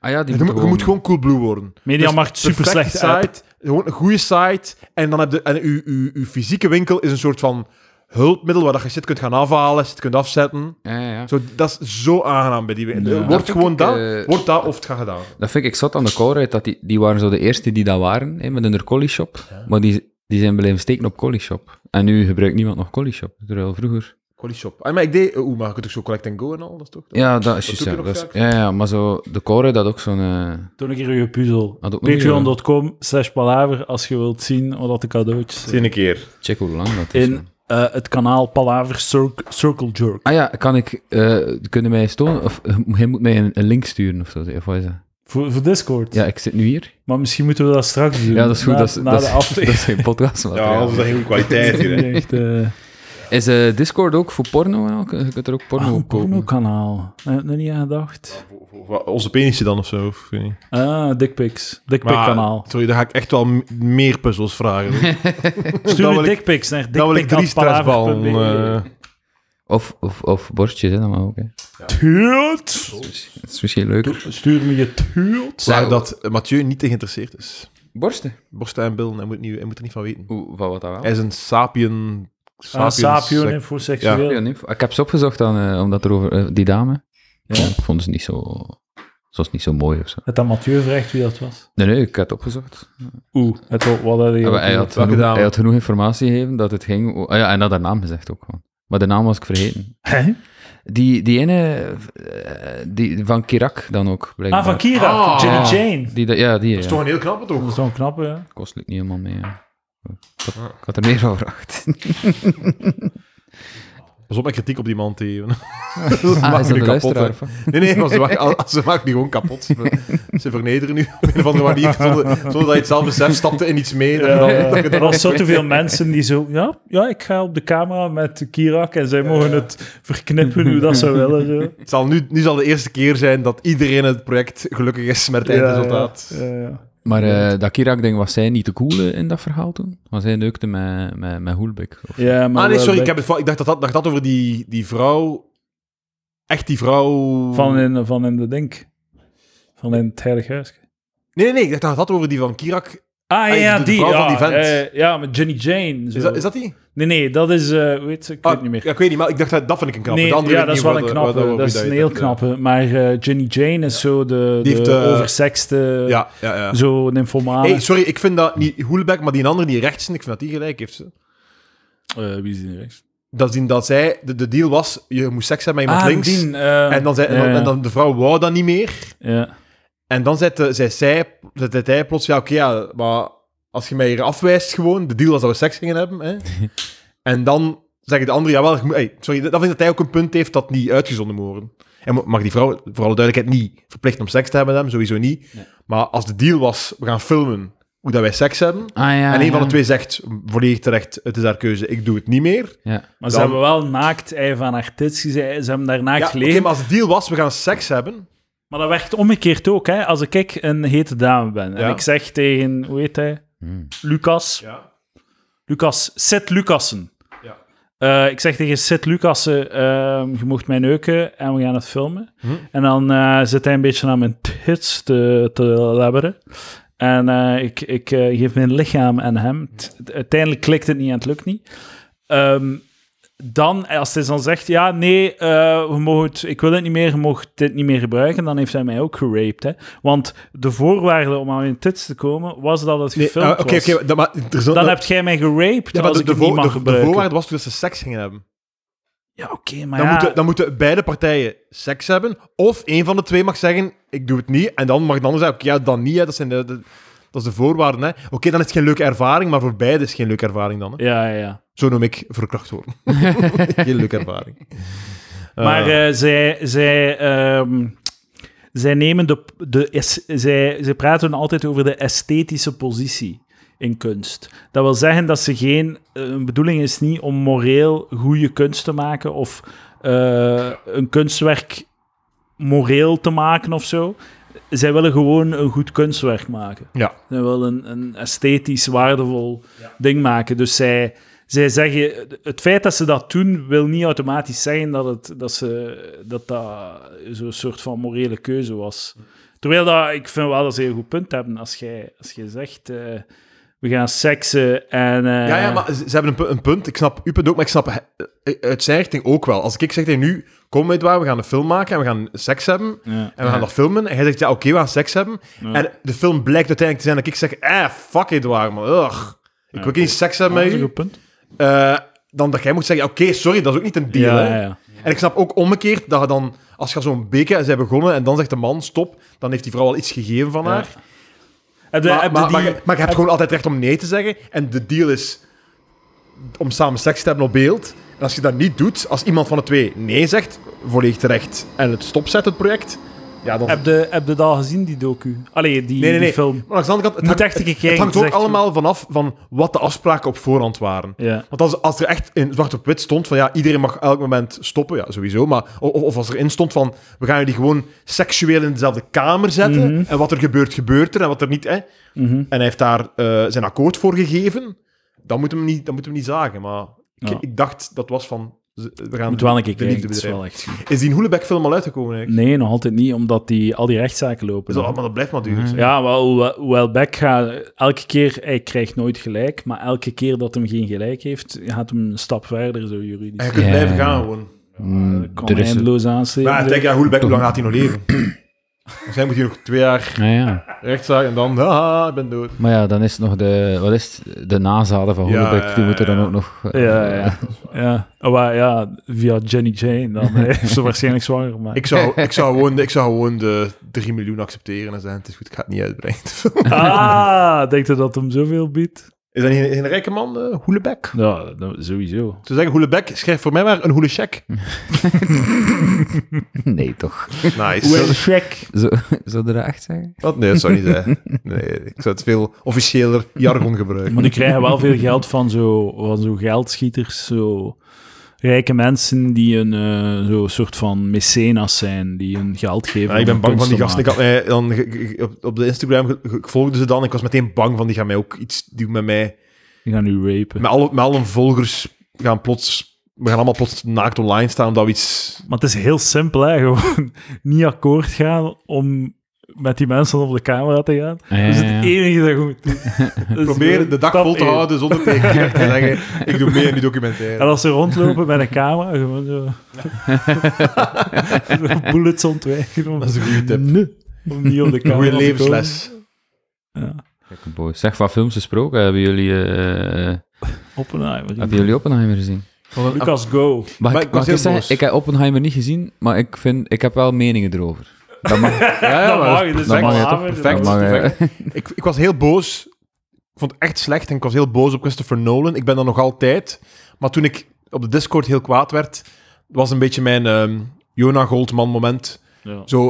C: Ah ja, die
A: Je
C: moet
A: moet, je moet gewoon Cool Blue worden.
B: Mediamarkt,
A: Dus
B: super
A: perfect
B: slecht app.
A: site. Gewoon een goede site. En dan heb je en uw, uw, uw fysieke winkel is een soort van hulpmiddel waar dat je shit kunt gaan afhalen, shit kunt afzetten.
C: Ja, ja, ja.
A: Zo, dat is zo aangenaam bij die winkel.
C: Ja.
A: Wordt
C: Dat
A: gewoon
C: vind ik,
A: dat,
C: eh,
A: wordt dat of het gaat gedaan.
C: Dat vind ik zat aan de koolruit, dat die, die waren zo de eerste die dat waren, hè, met een collie shop. Maar die, die zijn blijven steken op collie shop. En nu gebruikt niemand nog collie shop, terwijl vroeger...
A: Collie shop. Ah, maar ik deed, oeh, maar je kunt ook zo collect and go en al, dat is toch?
C: Ja, dat is
A: doe
C: juist,
A: ik
C: ja,
A: nog
C: dat is-
A: vaak.
C: ja, ja, maar zo, de koolruit had ook zo'n... eh,
B: Toen een keer je puzzel.
C: had ook nog niet, eh.
B: Patreon.com slash palaver als je wilt zien wat dat de cadeautjes zijn.
A: Zie een keer.
C: eh, Check hoe lang dat is.
B: In eh, het kanaal Palaver Cir- Circle Jerk.
C: Ah ja, kan ik... eh kunnen mij stonen? Of eh, hij moet mij een, een link sturen of zo, of wat is dat?
B: Voor, voor Discord.
C: Ja, ik zit nu hier.
B: Maar misschien moeten we dat straks doen.
C: Ja, dat is goed.
B: Na,
C: dat, is,
B: na
C: dat,
B: de
C: is, dat
B: aflevering.
C: is geen podcast. maar-
A: Ja, anders is dat geen goede kwaliteit hier. hè.
B: Niet echt, eh,
C: Is eh, Discord ook voor porno? en al? Je kunt er ook porno
B: ah, een
C: op kopen.
B: porno-kanaal. Daar heb ik Eh, nog niet aan gedacht.
A: Wa- Onze penisje dan of zo. Of, ik weet niet.
B: Ah, dickpics. Dickpic-kanaal.
A: sorry, daar ga ik echt wel m- meer puzzels vragen.
B: Stuur
A: dan wil
B: je
A: ik-
B: dickpics naar
A: Dan wil ik drie stressballen.
B: dickpic.palaver.be.
A: eh,
C: Of, of, of borstjes, hè, dat mag ook. Hè.
B: Tuut!
C: Dat is misschien leuk.
B: Stuur me je tuut.
A: Waar dat eh, Mathieu niet te geïnteresseerd is.
C: Borsten?
A: Borsten en billen, hij moet, niet, hij moet er niet van weten.
C: Hoe, van wat dat wel?
A: Hij is een sapien...
B: Ah, sapio,
A: sec-
B: infoseksueel.
C: Ja, nee, ik heb ze opgezocht dan, eh, omdat er over eh, die dame. Ja. Ik vond ze niet zo. Ze was niet zo mooi of zo.
B: Het amateur vraagt wie dat was.
C: Nee, nee, ik had het opgezocht.
B: Oeh, het, wat had hij
C: Ja,
B: ook
C: maar hij, had
B: gezegd?
A: welke
C: genoeg,
A: dame?
C: hij had genoeg informatie gegeven dat het ging. o- Ah ja, en had haar naam gezegd ook gewoon. Maar de naam was ik vergeten.
B: Hè?
C: Die, die ene. eh, Die, van Kirak dan ook. Blijkbaar.
B: Ah, van Kira.
A: Ah.
B: Jenny
C: Ja.
B: Jane.
C: Die, dat- ja, die.
A: Dat is
C: ja.
A: toch een heel knappe, toch?
B: Dat is zo'n knappe, ja.
C: kostelijk niet helemaal mee. ja. Ik, had, ik had er meer van verwacht.
A: Pas op met kritiek op die man te geven.
C: Ah, is dat
A: nu
C: de
A: kapot,
C: luisteraar?
A: hè. Nee, nee, maar ze maken, ze maken die gewoon kapot. Ze vernederen nu op een of andere manier. Zonder, zonder dat je het zelf beseft, stapte in iets mee.
B: Ja,
A: Dan- dan-
B: er was zo te veel mensen die zo... Ja, ja, ik ga op de camera met Kirak en zij mogen het verknippen hoe dat ze willen. Zo.
A: Het zal nu, nu zal de eerste keer zijn dat iedereen het project gelukkig is met het
B: Ja,
A: eindresultaat.
B: Ja, ja.
C: Maar eh dat Kirak-ding, was zij niet de coole in dat verhaal toen? Want zij neukte met, met, met Hoelbeek. Of-
B: Ja, maar
A: Ah nee,
B: wel
A: sorry,
B: bij-
A: ik, heb het, fout. ik dacht dat dat, dacht dat over die, die vrouw... Echt die vrouw...
B: Van eh, in, van in de Dink. Van in het Heilig Huis.
A: Nee, nee, nee, ik dacht dat dat over die van Kirak...
B: Ah ja,
A: Ah,
B: ja,
A: de
B: die.
A: vrouw
B: ja,
A: van die vent.
B: eh, ja, met Jenny Jane. zo.
A: Is dat, is dat die?
B: Nee, nee, dat is... eh hoe heet ze? Ik
A: Ah,
B: weet niet meer.
A: Ja, ik weet niet, maar ik dacht dat, dat vind ik een knappe.
B: Nee,
A: De andere
B: ja,
A: weet
B: dat is
A: ik
B: wel
A: niet
B: een
A: wat- eh, wat-
B: knappe.
A: wat-
B: dat is
A: hoe
B: een
A: je
B: heel
A: hebt.
B: knappe. Maar eh, Jenny Jane is zo de, de
A: Die heeft, eh,
B: oversexte,
A: Ja, ja, ja.
B: zo een informale.
A: Hey, sorry, ik vind dat niet Hoelbeck, maar die andere die rechts zit, ik vind dat die gelijk heeft. ze.
B: Eh, wie is die rechts?
A: Dat zien dat zij, de, de deal was, je moest seks hebben met iemand links.
B: die, eh,
A: En dan, zei, en, dan,
B: ja, ja.
A: en dan de vrouw wou dat niet meer.
B: Ja.
A: En dan zei, de- zei, zij, zei, zei hij plots, ja oké, ja, maar als je mij hier afwijst gewoon, de deal was dat we seks gingen hebben. Hè? en dan zeggen de anderen, jawel, je moet- hey, sorry, dat vind ik dat hij ook een punt heeft dat niet uitgezonden moet worden. En mo- mag die vrouw, voor alle duidelijkheid, niet verplicht om seks te hebben met hem, sowieso niet. Maar als de deal was, we gaan filmen hoe dat wij seks hebben,
C: Ah ja.
A: en een van de
C: ja.
A: twee zegt volledig terecht, het is haar keuze, ik doe het niet meer.
C: Ja.
B: Maar ze
A: Dan-
B: hebben wel naakt ei van haar tits gezien. Ze hebben daar naakt
A: Ja, oké,
B: gelegen.
A: maar als de deal was, we gaan seks hebben.
B: Maar dat werkt omgekeerd ook. Hè? Als ik- ik een hete dame ben en
A: Ja.
B: ik zeg tegen, hoe heet hij?
C: Hmm.
B: Lucas.
A: Ja.
B: Lucas, Sid Lucassen.
A: Ja.
B: Eh, ik zeg tegen Sid Lucassen, ehm, je mocht mij neuken en we gaan het filmen.
A: Hm.
B: En dan eh, zit hij een beetje aan mijn tits te, te labberen. En eh, ik, ik eh, geef mijn lichaam aan hem. T- uiteindelijk klikt het niet en het lukt niet. Ehm, dan, als hij dan zegt, ja, nee, eh, we mogen het- ik wil het niet meer, je mag dit niet meer gebruiken, dan heeft hij mij ook geraped. Hè? Want de voorwaarde om aan mijn tits te komen, was dat het
A: Nee,
B: gefilmd
A: eh, Oké,
B: was.
A: oké, dan- maar er is
B: Dan
A: nog-
B: heb jij mij geraped
A: ja, maar
B: als
A: de,
B: ik
A: de,
B: het
A: voor-
B: niet mag
A: de, de
B: gebruiken.
A: voorwaarde was toen dat ze seks gingen hebben.
B: Ja, oké, maar
A: Dan,
B: ja,
A: moeten, dan moeten beide partijen seks hebben, of een van de twee mag zeggen, ik doe het niet, en dan mag de ander zeggen, oké, ja, dan niet, hè, dat, zijn de, de- dat is de voorwaarden. Hè. Oké, dan is het geen leuke ervaring, maar voor beide is het geen leuke ervaring dan. Hè.
B: Ja, ja, ja.
A: Zo noem ik verkracht worden. geen leuke ervaring. Eh,
B: Maar eh, zij, zij, ehm, zij nemen de... de es- zij, zij praten altijd over de esthetische positie in kunst. Dat wil zeggen dat ze geen... eh, Hun bedoeling is niet om moreel goede kunst te maken of eh, een kunstwerk moreel te maken of zo. Zij willen gewoon een goed kunstwerk maken.
A: ja.
B: Zij willen een, een esthetisch waardevol ding maken. Dus zij, zij zeggen, het feit dat ze dat doen, wil niet automatisch zeggen dat het, dat, ze, dat, dat zo'n soort van morele keuze was. Terwijl dat, ik vind wel dat ze een goed punt hebben als jij, als jij zegt. eh, we gaan seksen en... eh,
A: Ja, ja, maar ze, ze hebben een, pu- een punt. Ik snap uw punt ook, maar ik snap he- eh, uit zijn richting ook wel. Als ik zeg tegen nu, kom met waar, we gaan een film maken en we gaan seks hebben
B: Ja.
A: en we gaan dat filmen. En hij zegt, ja, oké, we gaan seks hebben. En de film blijkt uiteindelijk te zijn dat ik zeg, eh, fuck Edouard, man, ugh. Ik wil geen seks hebben
B: Dat
A: met
B: is een
A: u.
B: goed punt.
A: Eh, dan dat jij moet zeggen, ja, oké, sorry, dat is ook niet een deal,
B: Ja,
A: hè.
B: ja, ja.
A: En ik snap ook omgekeerd dat je dan, als je zo'n beker en zij begonnen en dan zegt de man stop, dan heeft die vrouw al iets gegeven van
B: Ja.
A: haar.
B: Heb je-
A: Maar,
B: heb je
A: maar,
B: die-
A: maar, je- maar je hebt gewoon altijd recht om nee te zeggen. En de deal is om samen seks te hebben op beeld. En als je dat niet doet, als iemand van de twee nee zegt, volledig terecht, en het stopzet, het project, ja, dan...
B: heb, je, heb je dat al gezien, die docu? Allee, die,
A: nee, nee, nee.
B: die film.
A: Maar aan de andere kant, het
B: Moet
A: hangt,
B: echt een keer
A: het,
B: kijken,
A: het hangt
B: het is
A: ook
B: echt goed.
A: allemaal vanaf van wat de afspraken op voorhand waren.
B: Ja.
A: Want als, als er echt in zwart op wit stond van ja, iedereen mag elk moment stoppen, ja, sowieso. Maar, o- of, of als erin stond van we gaan jullie gewoon seksueel in dezelfde kamer zetten.
B: Mhm.
A: En wat er gebeurt, gebeurt er. En wat er niet. Hè. En
B: Mhm.
A: hij heeft daar eh, zijn akkoord voor gegeven. Dan moet hem niet, dan moet hem niet zagen. Maar ik,
B: Ja.
A: ik dacht dat was van. ze- We gaan
B: Moet wel een keer
A: de
B: kijken,
A: liefde
B: het is
A: bedrijven.
B: wel echt goed.
A: Is die Hoelebeck-film al uitgekomen eigenlijk?
B: Nee, nog altijd niet, omdat die, al die rechtszaken lopen.
A: Is dat,
B: hè.
A: maar dat blijft maar duur.
B: Mm. Ja, wel, hoewel- hoewel Beck gaat elke keer, hij krijgt nooit gelijk, maar elke keer dat hem geen gelijk heeft, gaat hem een stap verder, zo
A: En je
B: juridisch.
A: kunt
C: Ja.
A: blijven gaan gewoon.
C: Mm,
B: Kan
C: er is een-
B: eindeloos aanslepen.
A: Maar ja, denk ja, Hoelebeck, hoe lang gaat hij nog leven? Zij moet hier nog twee jaar
C: Ja, ja.
A: rechtszaak en dan, ah, ik ben dood.
C: Maar ja, dan is het nog de, wat is het? de nazaden van
A: Ja,
C: Holbeck, die
A: ja,
C: moeten dan
A: ja.
C: ook nog... eh,
B: ja, ja. ja. Oh, maar ja, via Jenny Jane, dan hè, heeft ze waarschijnlijk zwanger gemaakt.
A: Ik zou, ik, zou gewoon, de- ik zou gewoon de 3 miljoen accepteren en zeggen, het is goed, ik ga het niet uitbrengen.
B: Ah, denk je dat hem zoveel biedt?
A: Is dat niet een, een rijke man, eh, Hoelebek?
B: Ja, nou, sowieso.
A: Ze zeggen, Hoelebek, schrijf voor mij maar een hoelecheck.
C: Nee, toch.
A: Nice.
B: check.
C: Zo, zou je dat echt zeggen?
A: Wat? Nee, dat zou niet zijn. Nee, ik zou het veel officiëler jargon gebruiken.
B: Maar die krijgen wel veel geld van zo, van zo geldschieters, zo rijke mensen die een eh, zo soort van mecenas zijn, die hun geld geven.
A: Ja, ik ben
B: om
A: bang van
B: kunst
A: die
B: te
A: gasten. Ik
B: maken.
A: had mij dan ge- ge- op, op de Instagram ge- ge- ik volgde ze dan. Ik was meteen bang van die gaan mij ook iets doen met mij.
B: Die gaan nu rapen.
A: Met alle, met alle volgers gaan plots. We gaan allemaal plots naakt online staan omdat we iets.
B: Maar het is heel simpel, hè. Gewoon niet akkoord gaan om met die mensen op de camera te gaan.
C: Ah, Ja,
B: Dat is
C: ja, ja.
B: het enige dat je moet doen. Dus
A: Proberen
B: gewoon
A: de dag
B: stap
A: vol te
B: één.
A: houden zonder tegen direct te zeggen: ik doe mee in die documentaire.
B: En als ze rondlopen met een camera, gewoon zo... zo bullets ontwijken. Om,
A: Dat is een goede tip.
B: Nee, om niet op de
A: Goede
B: camera te komen.
A: levensles.
B: Ja.
C: Lekker boy. Zeg, van films gesproken, hebben jullie, eh, eh,
B: Oppenheimer.
C: hebben jullie Oppenheimer gezien?
B: Lucas, go.
C: Mag
A: Maar
C: ik,
A: ik was
C: mag ik
A: heel
C: zeggen,
A: boos.
C: ik heb Oppenheimer niet gezien, maar ik, vind, ik heb wel meningen erover. Dat mag,
A: Ja,
B: dat mag je, dat is
C: dat mag je
B: wel
C: toch?
B: hamer, dat
C: Perfect. mag je.
A: ik, ik was heel boos. Ik vond het echt slecht en ik was heel boos op Christopher Nolan. Ik ben dat nog altijd. Maar toen ik op de Discord heel kwaad werd, was een beetje mijn ehm, Jonah Goldman moment.
B: Ja.
A: Zo,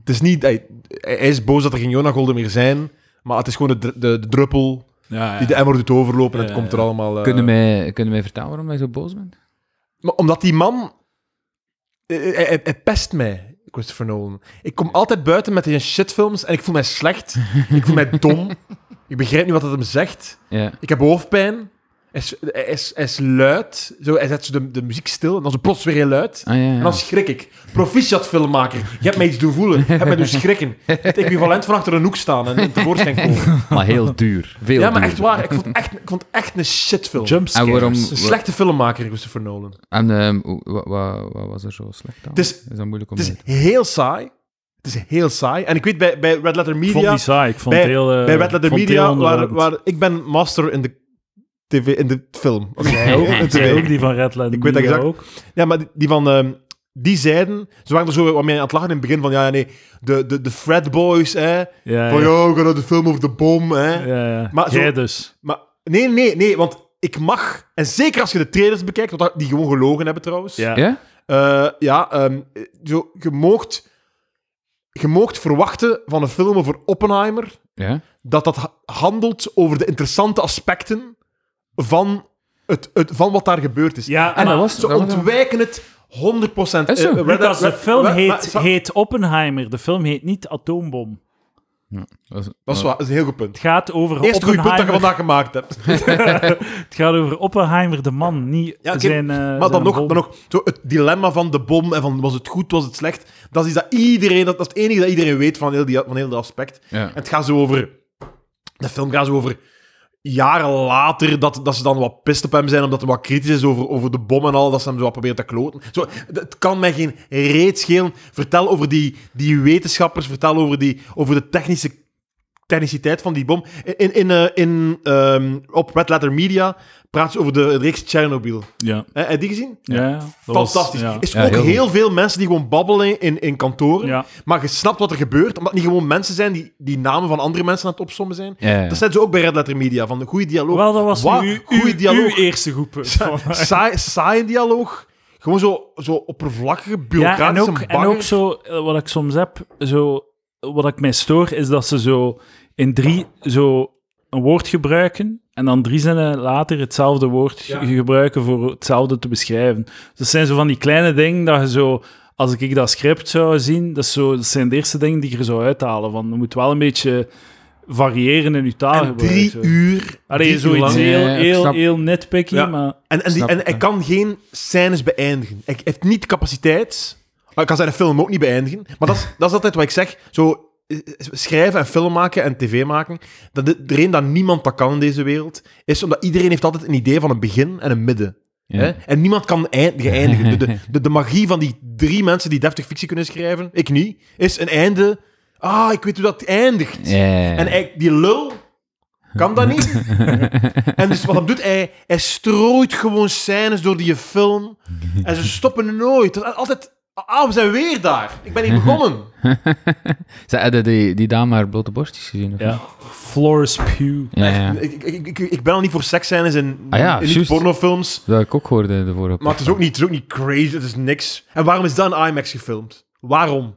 A: het is niet... Hij, hij is boos dat er geen Jonah Golden meer zijn, maar het is gewoon de, dr- de, de druppel
B: Ja,
A: die de emmer doet overlopen en
B: Ja,
A: het
B: ja,
A: komt er
B: ja.
A: allemaal... eh,
C: Kunnen mij, kunnen mij vertellen waarom jij zo boos bent?
A: Maar omdat die man... eh, Hij, hij- hij pest mij, Christopher Nolan. Ik kom altijd buiten met die shitfilms en ik voel mij slecht. ik voel mij dom. Ik begrijp niet wat het hem zegt.
C: Ja.
A: Ik heb hoofdpijn. Hij is, hij is, hij is luid. Zo, hij zet zo de, de muziek stil en dan is het plots weer heel luid.
C: Ah, ja,
A: En
C: ja.
A: dan schrik ik. Proficiat filmmaker. Je hebt mij iets doen voelen. Je hebt mij doen schrikken. Het equivalent van achter een hoek staan en, en tevoorschijn komen.
C: Maar heel duur. Veel
A: Ja, maar
C: duur.
A: echt waar. Ik vond echt, ik vond echt een shitfilm.
B: Jumpscares.
C: En waarom-
A: Een slechte filmmaker, Christopher Nolan.
C: En ehm, hoe- wa- wa- wat was er zo slecht aan?
A: Het is,
C: Is dat moeilijk om
A: het is
C: te
A: heel saai. Het is heel saai. En ik weet, bij, bij Red Letter
B: Ik vond
A: Media...
B: die saai. Ik vond
A: bij-
B: het heel... eh,
A: bij Red Letter
B: ik vond het heel
A: Media, waar,
B: onderhoudend.
A: waar ik ben master in de, TV, in de film. Oké.
B: Jij ook?
A: In de
B: Jij
A: tv.
B: ook die van Red Letter
A: Ik weet dat
B: Media
A: exact.
B: ook?
A: Ja, maar die- die van... ehm, die zeiden... Ze waren er zo wat mee aan het lachen in het begin van... Ja, ja, nee, de, de, de Fred Boys, hè.
B: Ja,
A: Van,
B: ja.
A: ja, we gaan naar de film over de bom, hè.
B: Ja, ja.
A: Maar zo-
B: Jij dus.
A: Maar nee, nee, nee, want ik mag... En zeker als je de trailers bekijkt, want dat- die gewoon gelogen hebben trouwens.
B: Ja.
C: Ja?
A: Eh, ja ehm, zo, je moogt... Je moogt verwachten van een film over Oppenheimer...
C: Ja?
A: dat dat ha- handelt over de interessante aspecten van, het, het, van wat daar gebeurd is.
B: Ja,
A: en
B: maar-
A: dat was, ze
C: dat was-
A: ontwijken het 100 procent. Eh,
C: Is zo.
B: Lucas, de film heet, heet Oppenheimer. De film heet niet Atoombom.
C: Dat is,
A: Dat is, waar, dat is een heel goed punt.
B: Het gaat over
A: Eerst goede punt dat je
B: Oppenheimer.
A: vandaag gemaakt hebt.
B: Het gaat over Oppenheimer, de man, niet
A: Ja, oké,
B: zijn. eh,
A: Maar dan
B: zijn
A: nog,
B: bom.
A: dan nog zo het dilemma van de bom en van was het goed, was het slecht. Dat is iets dat iedereen, dat, dat is het enige dat iedereen weet van heel, die, van heel dat aspect.
C: ja.
A: En het gaat zo over. De film gaat zo over. jaren later dat, dat ze dan wat pist op hem zijn, omdat hij wat kritisch is over, over de bom en al, dat ze hem zo wat proberen te kloten. Zo, d- het kan mij geen reet schelen. Vertel over die, die wetenschappers, vertel over, die, over de technische techniciteit van die bom. In, in, eh, in, ehm, op Red Letter Media praat ze over de reeks Chernobyl.
B: Ja.
A: Hè, Heb je die gezien?
B: ja, dat was-
A: Fantastisch.
B: ja.
A: Is
C: Ja,
A: ook
C: heel
A: heel,
C: goed.
A: veel mensen die gewoon babbelen in, in kantoren.
B: Ja.
A: Maar je snapt wat er gebeurt, omdat het niet gewoon mensen zijn die, die namen van andere mensen aan het opsommen zijn.
C: Ja, ja.
A: Dat zijn ze ook bij Red Letter Media, van de goede dialoog.
B: Wel, dat was
A: Wat?
B: nu uw,
A: Goeie
B: uw-
A: dialoog.
B: uw eerste groep.
A: Saai, saaie dialoog. Gewoon zo, zo oppervlakkige,
B: Ja,
A: bureaucratische
B: en ook, en
A: bagger.
B: ook zo, eh, wat ik soms heb, zo, wat ik mij stoor, is dat ze zo in drie, zo een woord gebruiken en dan drie zinnen later hetzelfde woord ge- gebruiken voor hetzelfde te beschrijven. Dus dat zijn zo van die kleine dingen dat je zo, als ik dat script zou zien, dat, is zo, dat zijn de eerste dingen die je er zou uithalen. Van, je moet wel een beetje variëren in je
A: En
C: Ah,
B: taalgebruik.
A: drie
B: zo.
A: uur.
B: Allee,
A: drie uur
B: zoiets
A: lang.
C: Ja,
B: heel,
C: ja, ik
B: heel,
C: snap.
B: heel nitpicky,
A: Ja.
B: maar...
A: En, en, die,
C: Snap
A: en
C: ik,
A: hij
C: ja.
A: kan geen scènes beëindigen. Hij heeft niet de capaciteit. Hij kan zijn film ook niet beëindigen. Maar dat is, dat is altijd wat ik zeg. Zo, eh, schrijven en film maken en tv maken. Dat de, de reden dat niemand dat kan in deze wereld, is omdat iedereen heeft altijd een idee van een begin en een midden.
C: Ja.
A: Hè? En niemand kan eindigen. eindigen. De, de, de, de magie van die drie mensen die deftig fictie kunnen schrijven, ik niet, is een einde. Ah, ik weet hoe dat eindigt.
C: Ja, ja, ja.
A: En hij, die lul kan dat niet. en dus wat hij doet, hij, hij strooit gewoon scènes door die film. En ze stoppen nooit. Dat is Altijd, ah, we zijn weer daar. Ik ben hier begonnen.
C: Zij hadden die, die dame haar blote borstjes gezien? of
B: Ja. Floris Pugh.
C: niet? Ja, ja.
A: Ik, ik, ik, ik ben al niet voor seksscènes in,
C: Ah ja,
A: in niet
C: juist.
A: pornofilms.
C: Dat ik ook hoorde de vorige
A: Maar het is, ook niet, het is ook niet crazy, het is niks. En waarom is dat in IMAX gefilmd? Waarom?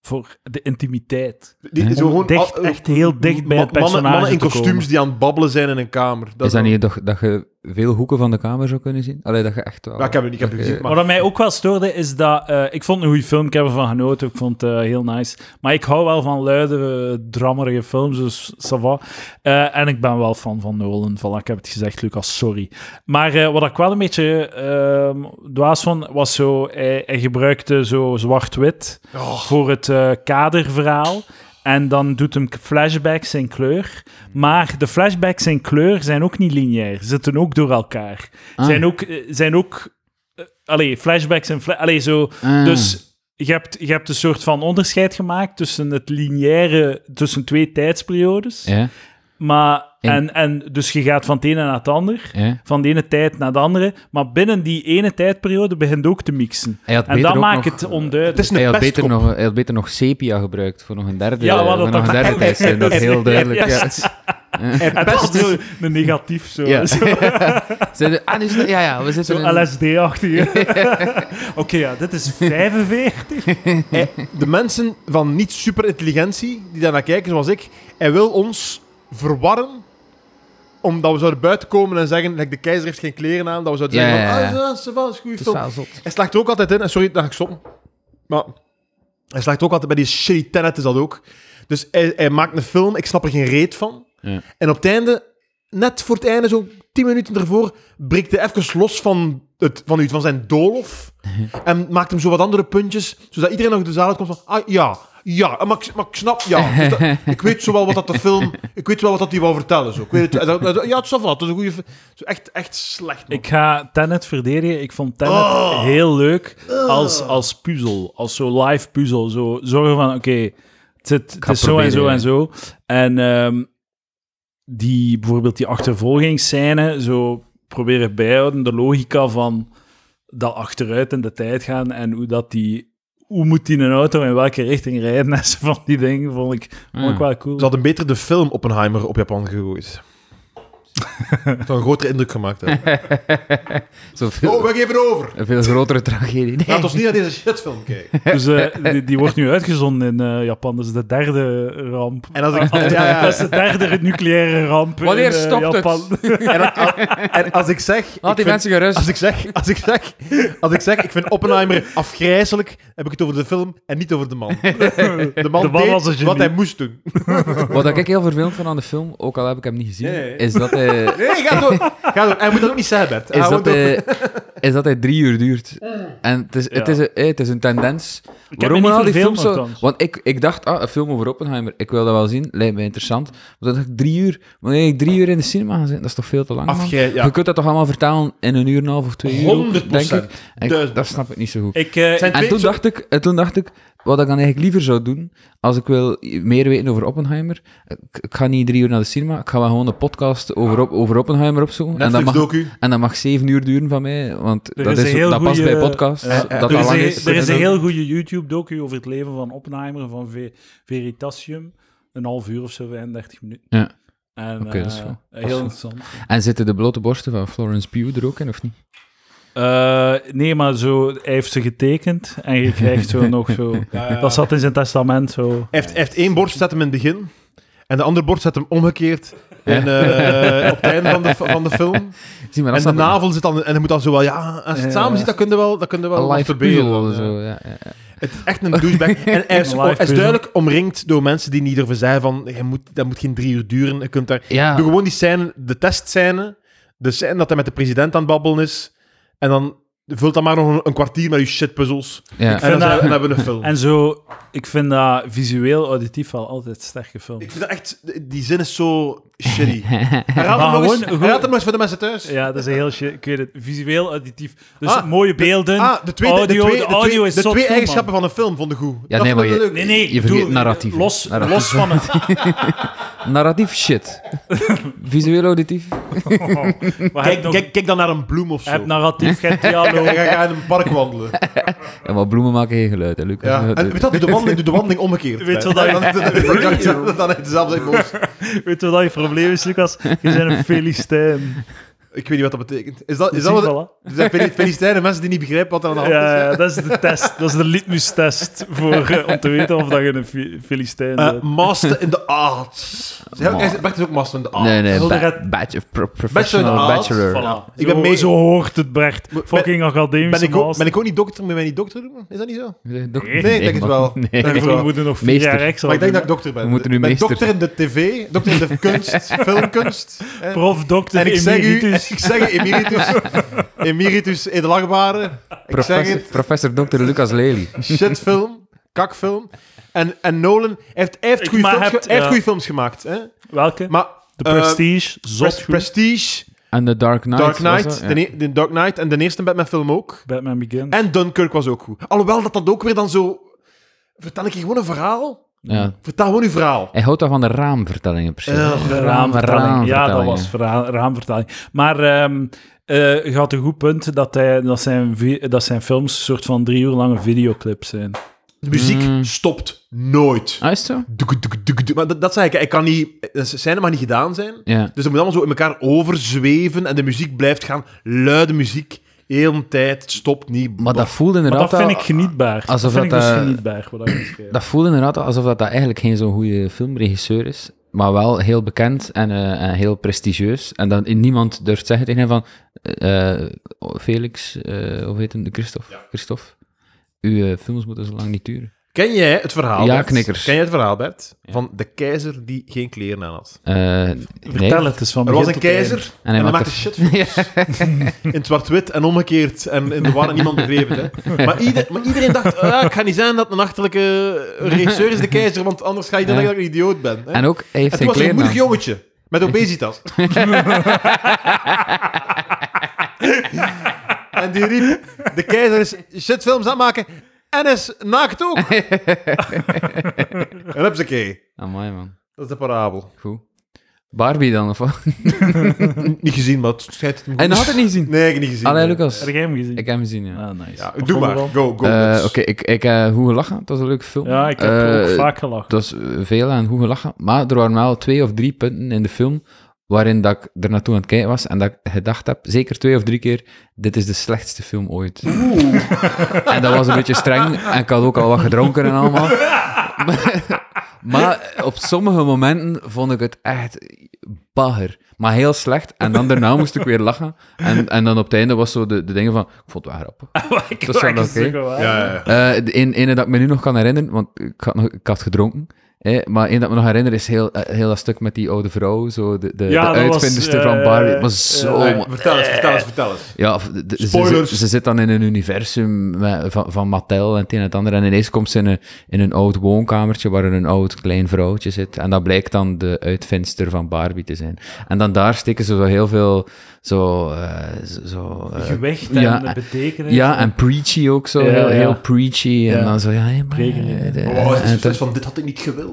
B: Voor de intimiteit.
A: Die,
C: Om
A: zo gewoon
B: dicht,
A: al-
B: echt heel dicht bij
A: ma-
B: het personage
A: mannen, mannen in
B: te
A: kostuums
B: komen.
A: die aan het babbelen zijn in een kamer. Dat
C: Is dat
A: wel-
C: niet toch dat je veel hoeken van de kamer zou kunnen zien? Allee, dat je echt wel...
A: Ja, ik heb het niet ik heb het
C: dat
A: gezien.
C: je-
A: Maar,
B: Wat mij ook wel stoorde, is dat... eh, ik vond het een goede film, ik heb ervan genoten. Ik vond het eh, heel nice. Maar ik hou wel van luide, eh, drammerige films, dus ça va. Eh, en ik ben wel fan van Nolan. Voilà, ik heb het gezegd, Lucas, sorry. Maar eh, wat ik wel een beetje ehm dwaas vond, was zo... Hij, hij gebruikte zo zwart-wit
A: Oh,
B: voor het eh, kaderverhaal. En dan doet hem flashbacks in kleur. Maar de flashbacks in kleur zijn ook niet lineair. Zitten ook door elkaar.
C: Ah.
B: Zijn ook... eh, Zijn ook eh, allee, flashbacks en... Fla allee, zo...
C: Ah.
B: Dus je hebt, je hebt een soort van onderscheid gemaakt tussen het lineaire... Tussen twee tijdsperiodes.
C: Ja,
B: Maar...
C: En-
B: En, en dus je gaat van het ene naar het ander.
C: ja.
B: Van de ene tijd naar de andere. Maar binnen die ene tijdperiode begint ook te mixen.
C: Hij had
B: En
C: beter
B: dat
C: ook
B: maakt
C: nog-
B: het onduidelijk.
A: het is
C: Hij
A: een
C: had, beter
A: pestkop.
C: nog, hij had beter nog sepia gebruikt voor nog een derde,
B: Ja, we
C: ja,
B: hadden
C: nog een
B: dat-
C: derde tijd zijn. Dat is heel duidelijk. Ja.
A: Hij
B: Dat
A: pest-
B: is heel een negatief zo.
C: Ja.
B: Zo,
C: Zijn we- ah, nu is het- ja, ja, we zitten
B: zo
C: in...
B: LSD-achtige. Oké, ja, dit is 45.
A: Hij- de mensen van niet super intelligentie die daarnaar kijken, zoals ik, hij wil ons verwarren omdat we zouden buiten komen en zeggen, like, de keizer heeft geen kleren aan, dat we zouden
C: Ja,
A: zeggen,
C: ja, ja.
A: ah, dat is wel een goede
D: Het is
A: film.
D: wel zot.
A: Hij slaagt er ook altijd in, en sorry, dan ga ik stoppen. Maar hij slaagt er ook altijd bij die shitty Tenet is dat ook. Dus hij, hij maakt een film, ik snap er geen reet van.
C: Ja.
A: En op het einde, net voor het einde, zo tien minuten ervoor, breekt hij even los van, het, van, u- van zijn doolhof. en maakt hem zo wat andere puntjes, zodat iedereen nog de zaal komt van, ah ja, ja, maar ik, maar ik snap, ja. Dus dat- ik weet zo wel wat dat de film, ik weet wel wat dat die wou vertellen. Zo. Ik weet het, dat- dat- ja, het is wel, wat, het is een goede film. Zo Echt, echt slecht. man.
B: Ik ga Tenet verdedigen. Ik vond Tenet
A: Oh.
B: heel leuk als, als puzzel. Als zo live puzzel. Zo zorgen van, oké, het, zit- het
C: ga
B: is zo en zo
C: proberen,
B: en zo. En ehm, die, bijvoorbeeld die achtervolgingsscène, zo proberen bijhouden. De logica van dat achteruit in de tijd gaan en hoe dat die... Hoe moet die een auto in welke richting rijden? En zo van die dingen vond ik, vond ik
C: Ja.
B: wel cool.
A: Ze hadden beter de film Oppenheimer op Japan gegooid. Het zou een grotere indruk gemaakt hebben.
C: Zo veel,
A: we geven over.
C: een veel grotere tragedie. Nee.
A: Oh, Laat ons niet naar deze shitfilm kijken.
B: Dus eh, die, die wordt nu uitgezonden in eh, Japan. Dat is de derde ramp.
A: En als ik, ja,
B: Dat
A: ja,
B: is de derde nucleaire ramp
C: Wanneer
B: in eh,
C: stopt het?
B: Japan.
A: En, a- en als ik zeg...
C: Laat
A: ik
C: die
A: vind-
C: mensen gerust.
A: als ik, zeg, als, ik zeg, als ik zeg, ik vind Oppenheimer afgrijzelijk, heb ik het over de film en niet over de man. De man,
B: De man was een
A: deed
B: genie.
A: wat hij moest doen.
C: Wat ik heel vervelend vond aan de film, ook al heb ik hem niet gezien,
A: Nee, nee.
C: is dat hij...
A: Nee, ga door. Ga door. Hij moet dat eh, ook niet zeggen, Bert.
C: Is
A: Hij
C: dat,
A: moet ook-
C: hij, is dat hij drie uur duurt. En het is, het
B: Ja.
C: is, een, eh, het is een tendens.
B: heb me niet verveeld,
C: zo...
B: nochtans.
C: Want ik, ik dacht, ah, een film over Oppenheimer, ik wil dat wel zien, lijkt mij interessant. Maar dan dacht ik, drie uur? Maar nee, drie uur in de cinema gaan zitten, dat is toch veel te lang, man?
A: Afge... Ja.
C: Je kunt dat toch allemaal vertalen in een uur en een half of twee uur?
A: 100%.
C: Denk ik. En ik.
A: Duizend
C: Dat snap ik niet zo goed.
B: Ik, eh,
A: Zijn-
C: En
A: Weet
C: toen
A: je-
C: dacht, ik, en toen dacht ik, wat ik dan eigenlijk liever zou doen, als ik wil meer weten over Oppenheimer, ik, ik ga niet drie uur naar de cinema, ik ga wel gewoon een podcast over, Op- over Oppenheimer opzoeken. En dat,
A: Netflix
C: mag,
A: docu.
C: en dat mag zeven uur duren van mij, want
B: Er
C: dat,
B: is
C: is,
B: een heel
C: dat past
B: goeie-
C: bij podcast.
A: eh,
C: dat
B: er,
C: dat
B: is
C: lang
B: een,
C: is.
B: er is een heel goede YouTube-docu over het leven van Oppenheimer van Ve- Veritasium. Een half uur of zo, 35 minuten.
C: Ja.
B: En,
C: Oké, dat is
B: eh,
C: wel-
B: Heel interessant.
C: En zitten de blote borsten van Florence Pugh er ook in, of niet?
B: Eh, nee, maar zo, hij heeft ze getekend en je krijgt zo nog zo... Dat zat in zijn testament zo.
A: Hij heeft, hij heeft één borst, zet hem in het begin. En de andere borst zet hem omgekeerd. En eh, op het einde van de, van de film.
C: Zie maar,
A: En
C: dat
A: de
C: is dan
A: navel zit dan... En hij moet dan zo wel... Ja, als je het
B: Ja.
A: samen ziet, dan kun je wel, dan kun je wel
C: een live
A: masturberen.
C: puzzel of
A: Ja.
C: zo. Ja, ja.
A: Het is echt een douchebag. En hij is,
B: Een live
A: hij is
B: puzzel.
A: duidelijk omringd door mensen die niet ervan zijn van... Je moet, dat moet geen drie uur duren. Je kunt daar...
C: Ja.
A: Doe gewoon die scène, de testscène. De scène dat hij met de president aan het babbelen is. En dan vult dan maar nog een, een kwartier met je shitpuzzels.
C: Ja.
A: En dan,
B: dat-
A: zijn we- dan hebben we een film.
B: En zo, ik vind dat visueel, auditief wel altijd sterke film.
A: Ik vind dat echt... Die zin is zo shitty. Raad hem nog eens-
B: gewoon-
A: raad hem nog eens voor de mensen thuis.
B: Ja, dat is een heel shit. Ik weet het. Visueel, auditief. Dus
A: Ah,
B: mooie beelden.
A: Ah, de twee, de-
B: audio,
A: de twee,
B: de
A: de
B: audio
A: twee,
B: is
A: de
B: zot
A: twee
B: goed,
A: eigenschappen van een film vonden goed.
C: Ja,
A: Dat vond
C: nee, maar
A: ik
C: je-
A: leuk.
B: Nee, nee.
C: Je
B: ik
C: vergeet
B: bedoel,
C: narratief, hè.
B: Los,
C: Narratief.
B: los van het...
C: Eh, Narratief shit. Visueel auditief.
B: Maar
A: Kijk,
B: heb nog,
A: kijk, kijk dan naar een bloem of zo.
B: heb narratief, geen
A: En ga
B: dialoog.
A: ga in een park wandelen.
C: Ja, maar bloemen maken geen geluid, hè, Eh, Lucas.
A: Ja. En, weet je wat, doe de wandeling, doe de wandeling omgekeerd.
B: Weet je wat
A: Dan, dan, dan, dan, dan heb je dezelfde emotie.
B: Weet je wat je probleem is, Lucas? Je bent een Filistijn.
A: Ik weet niet wat dat betekent. Is dat, is
B: Is
A: dat wat...
B: dat
A: Er zijn Fili- Filistijnen mensen die niet begrijpen wat er aan de hand is.
B: ja, ja, dat is de test. Dat is de litmus-test voor, eh, om te weten of dat je een Fi- Filistijn
A: Eh,
B: bent.
A: master in the arts. Ze hebben-
C: Man.
A: hij Bert is ook master in the arts.
C: Nee, nee,
B: Zullen we
C: ba-
B: het-
C: badge of pro- professional
A: Bachelor in arts,
C: bachelor.
B: Voilà.
A: Ik ben mee-
B: zo hoort het, Brecht.
A: Ben-
B: Fucking academische
A: Ben ik, ook,
B: master.
A: ben ik ook niet dokter? Moet je mij niet dokter noemen? Is dat niet zo?
C: Nee, dok-
B: Nee, ik
A: denk het
C: man.
A: wel.
C: Nee.
A: Denk het
B: We
A: wel.
B: moeten nog vier
C: Meester.
B: jaar extra
A: Maar ik denk
B: doen.
A: dat ik dokter ben.
C: We moeten nu
A: Ik ben
C: meester.
A: dokter in de tv, dokter in de kunst, filmkunst. hè.
B: Prof, dokter,
A: En ik zeg u,
B: emeritus.
A: ik zeg u, emeritus, emeritus edelachtbare. Ik zeg
C: Professor,
A: het,
C: professor Dr. Lucas Lely.
A: shitfilm, kakfilm. En, en Nolan hij heeft, hij heeft
B: Ik
A: goede
B: maar
A: films,
B: heb-
A: ge- hij heeft
B: ja.
A: goede films gemaakt. Hè?
B: Welke?
A: Maar
B: De
A: eh,
B: Prestige, zot
A: Pres-
B: goed.
A: Prestige,
C: En The Dark Knight.
A: Dark
C: Ah, was
A: Knight,
C: dat?
A: de,
C: Ja.
A: ne- de Dark Knight en de eerste Batman-film ook.
B: Batman Begins.
A: En Dunkirk was ook goed. Alhoewel dat dat ook weer dan zo... Vertel ik je gewoon een verhaal?
C: Ja.
A: Vertel gewoon uw verhaal.
C: Hij houdt dan van de raamvertellingen, precies.
A: Ugh.
B: De
C: raamvertaling,
B: raamvertaling. Ja, dat
C: vertaling,
B: was
C: ja.
B: verha- raamvertaling. Maar ehm eh, je had een goed punt dat, hij, dat, zijn, vi- dat zijn films een soort van drie uur lange videoclips zijn.
A: De muziek
C: Mm.
A: stopt nooit.
C: Ah, is het zo?
A: Doek, doek, doek, doek. Maar dat, dat zei ik, ik kan niet... Een scène mag niet gedaan zijn.
C: Ja.
A: Dus dat moet allemaal zo in elkaar overzweven en de muziek blijft gaan. Luide muziek, heel de tijd, stopt niet.
C: Maar dat voelde
B: Maar
C: inderdaad
B: dat vind ik
C: al-
B: genietbaar. Dat
C: alsof
B: vind ik
C: dat,
B: dus
C: eh,
B: genietbaar. Wat dat is.
C: dat voelde inderdaad al alsof dat, dat eigenlijk geen zo'n goede filmregisseur is, maar wel heel bekend en, eh, en heel prestigieus. En dan niemand durft zeggen tegen hem van, eh, eh, Felix, eh hoe heet hem, Christophe, Christophe, uw eh, films moeten zo lang niet duren.
A: Ken jij het verhaal,
C: Ja,
A: Bert?
C: knikkers.
A: Ken jij het verhaal, Bert? Van de keizer die geen kleren aan had.
C: Eh, nee.
B: Vertel het eens van
A: Er was een
B: begin tot
A: keizer
B: eind.
A: en hij maakte
C: er-
A: shit in zwart-wit en omgekeerd en in de war en niemand begreep het. Hè. Maar, ieder- maar iedereen dacht, ah, ik ga niet zijn dat een achterlijke regisseur is de keizer, want anders ga je denken dat ik een idioot ben. Hè.
C: En ook, hij heeft
A: En toen was
C: geen
A: hij een
C: kleren
A: moedig
C: aan.
A: jongetje. Met obesitas. en die riep... De keizer is shitfilms aan het maken. En is naakt ook. en heb ze
C: Amai, Ah, man.
A: Dat is de parabel.
C: Goed. Barbie dan, of wat?
A: Niet gezien, maar het schijnt het me
C: En
A: goed.
C: dat had ik niet gezien.
A: Nee, ik heb niet gezien.
C: Allee,
A: nee.
C: Lucas.
B: Heb jij hem gezien?
C: Ik heb hem gezien, ja.
B: Ah, nice.
A: Ja, doe
B: Wat vond je
A: maar.
B: ervan?
A: Go, go.
C: Eh,
A: nuts.
C: Oké, ik, ik heb goed gelachen. Het was een leuke film.
B: Ja, ik heb
C: Eh,
B: ook vaak gelachen.
C: Het was eh, veel en goed gelachen. Maar er waren wel twee of drie punten in de film waarin dat ik er naartoe aan het kijken was en dat ik gedacht heb, zeker twee of drie keer, dit is de slechtste film ooit. En dat was een beetje streng en ik had ook al wat gedronken en allemaal. Maar, maar op sommige momenten vond ik het echt bagger, maar heel slecht. En dan daarna moest ik weer lachen. En, en dan op het einde was zo de, de dingen van, ik vond het wel grappig.
B: Ik
C: dat is wel
B: maak het
C: oké.
B: zo gewoon.
A: Ja, ja, ja.
C: Eh, de een, ene dat ik me nu nog kan herinneren, want ik had, nog- ik had gedronken, Hè, maar één dat me nog herinner is heel, eh, heel dat stuk met die oude vrouw, zo de, de,
B: Ja,
C: de
B: dat was,
C: uitvinderster
B: eh,
C: van Barbie. Het
B: eh,
C: was zo...
A: Eh,
C: mo-
A: vertel eens, vertel eens, vertel eens.
C: ja, of de- de- ze- ze,
A: Spoilers.
C: ze zit dan in een universum met- van, van Mattel en het een en het ander. En ineens komt ze in een, in een oud woonkamertje waar er een oud klein vrouwtje zit. En dat blijkt dan de uitvinster van Barbie te zijn. En dan daar steken ze zo heel veel zo... eh, zo- zo eh,
B: Gewicht en
C: ja,
B: eh, betekenis.
C: ja, en preachy ook zo.
B: Ja,
C: heel,
B: ja.
C: heel preachy.
B: Ja.
C: En dan zo, ja, hé, maar...
B: Rekening.
C: eh, de-
A: Oh, het is
C: en
A: een
C: dan-
A: fles van dit had ik niet gewild.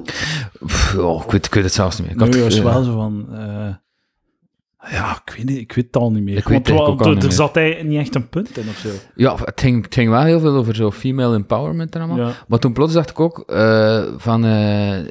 C: Pff, oh, ik, weet, ik weet het zelfs niet meer. Ik
B: Nu
C: had-
B: was
C: eh,
B: wel zo van... eh, ja, ik weet, niet, ik weet het al niet meer.
C: Ik weet het eigenlijk
B: wel-
C: ook al
B: er-
C: niet
B: er
C: meer.
B: zat hij niet echt een punt in of zo.
C: Ja, het ging, het ging wel heel veel over zo female empowerment en allemaal.
B: Ja.
C: Maar toen plots dacht ik ook eh, van... eh, eh,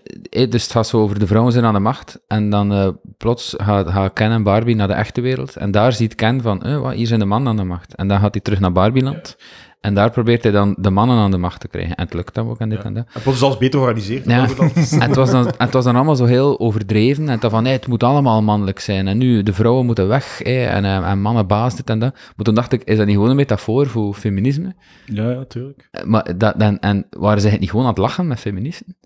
C: dus het gaat zo over de vrouwen zijn aan de macht. En dan eh, plots gaat, gaan Ken en Barbie naar de echte wereld. En daar ziet Ken van, eh, wat, hier zijn de mannen aan de macht. En dan gaat hij terug naar Barbieland. En daar probeert hij dan de mannen aan de macht te krijgen. En het lukt hem ook en dit en dat.
A: En plots is alles beter georganiseerd.
C: Ja.
A: Dat was het al.
C: En het, was dan, en het was dan allemaal zo heel overdreven. En het was van, nee, het moet allemaal mannelijk zijn. En nu, de vrouwen moeten weg. eh, en, eh, en mannen baas dit en dat. Maar toen dacht ik, is dat niet gewoon een metafoor voor feminisme?
B: Ja, ja, tuurlijk.
C: Eh, Maar dat, dan, en waren zij het niet gewoon aan het lachen met feministen?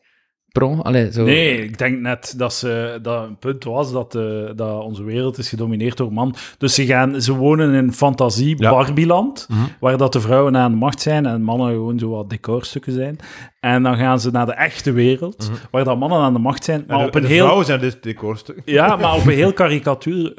C: Pro, allee, zo.
B: Nee, ik denk net dat, ze, dat een punt was dat, eh, dat onze wereld is gedomineerd door man. Dus ze, gaan, ze wonen in fantasie
A: Ja.
B: Barbieland,
A: Mhm.
B: waar dat de vrouwen aan de macht zijn en mannen gewoon zo wat decorstukken zijn. En dan gaan ze naar de echte wereld,
C: Mhm.
B: waar dat mannen aan de macht zijn, maar
A: En de-
B: op een
A: de
B: heel
A: vrouwen zijn dit decorstuk.
B: Ja, maar op een heel karikatuur,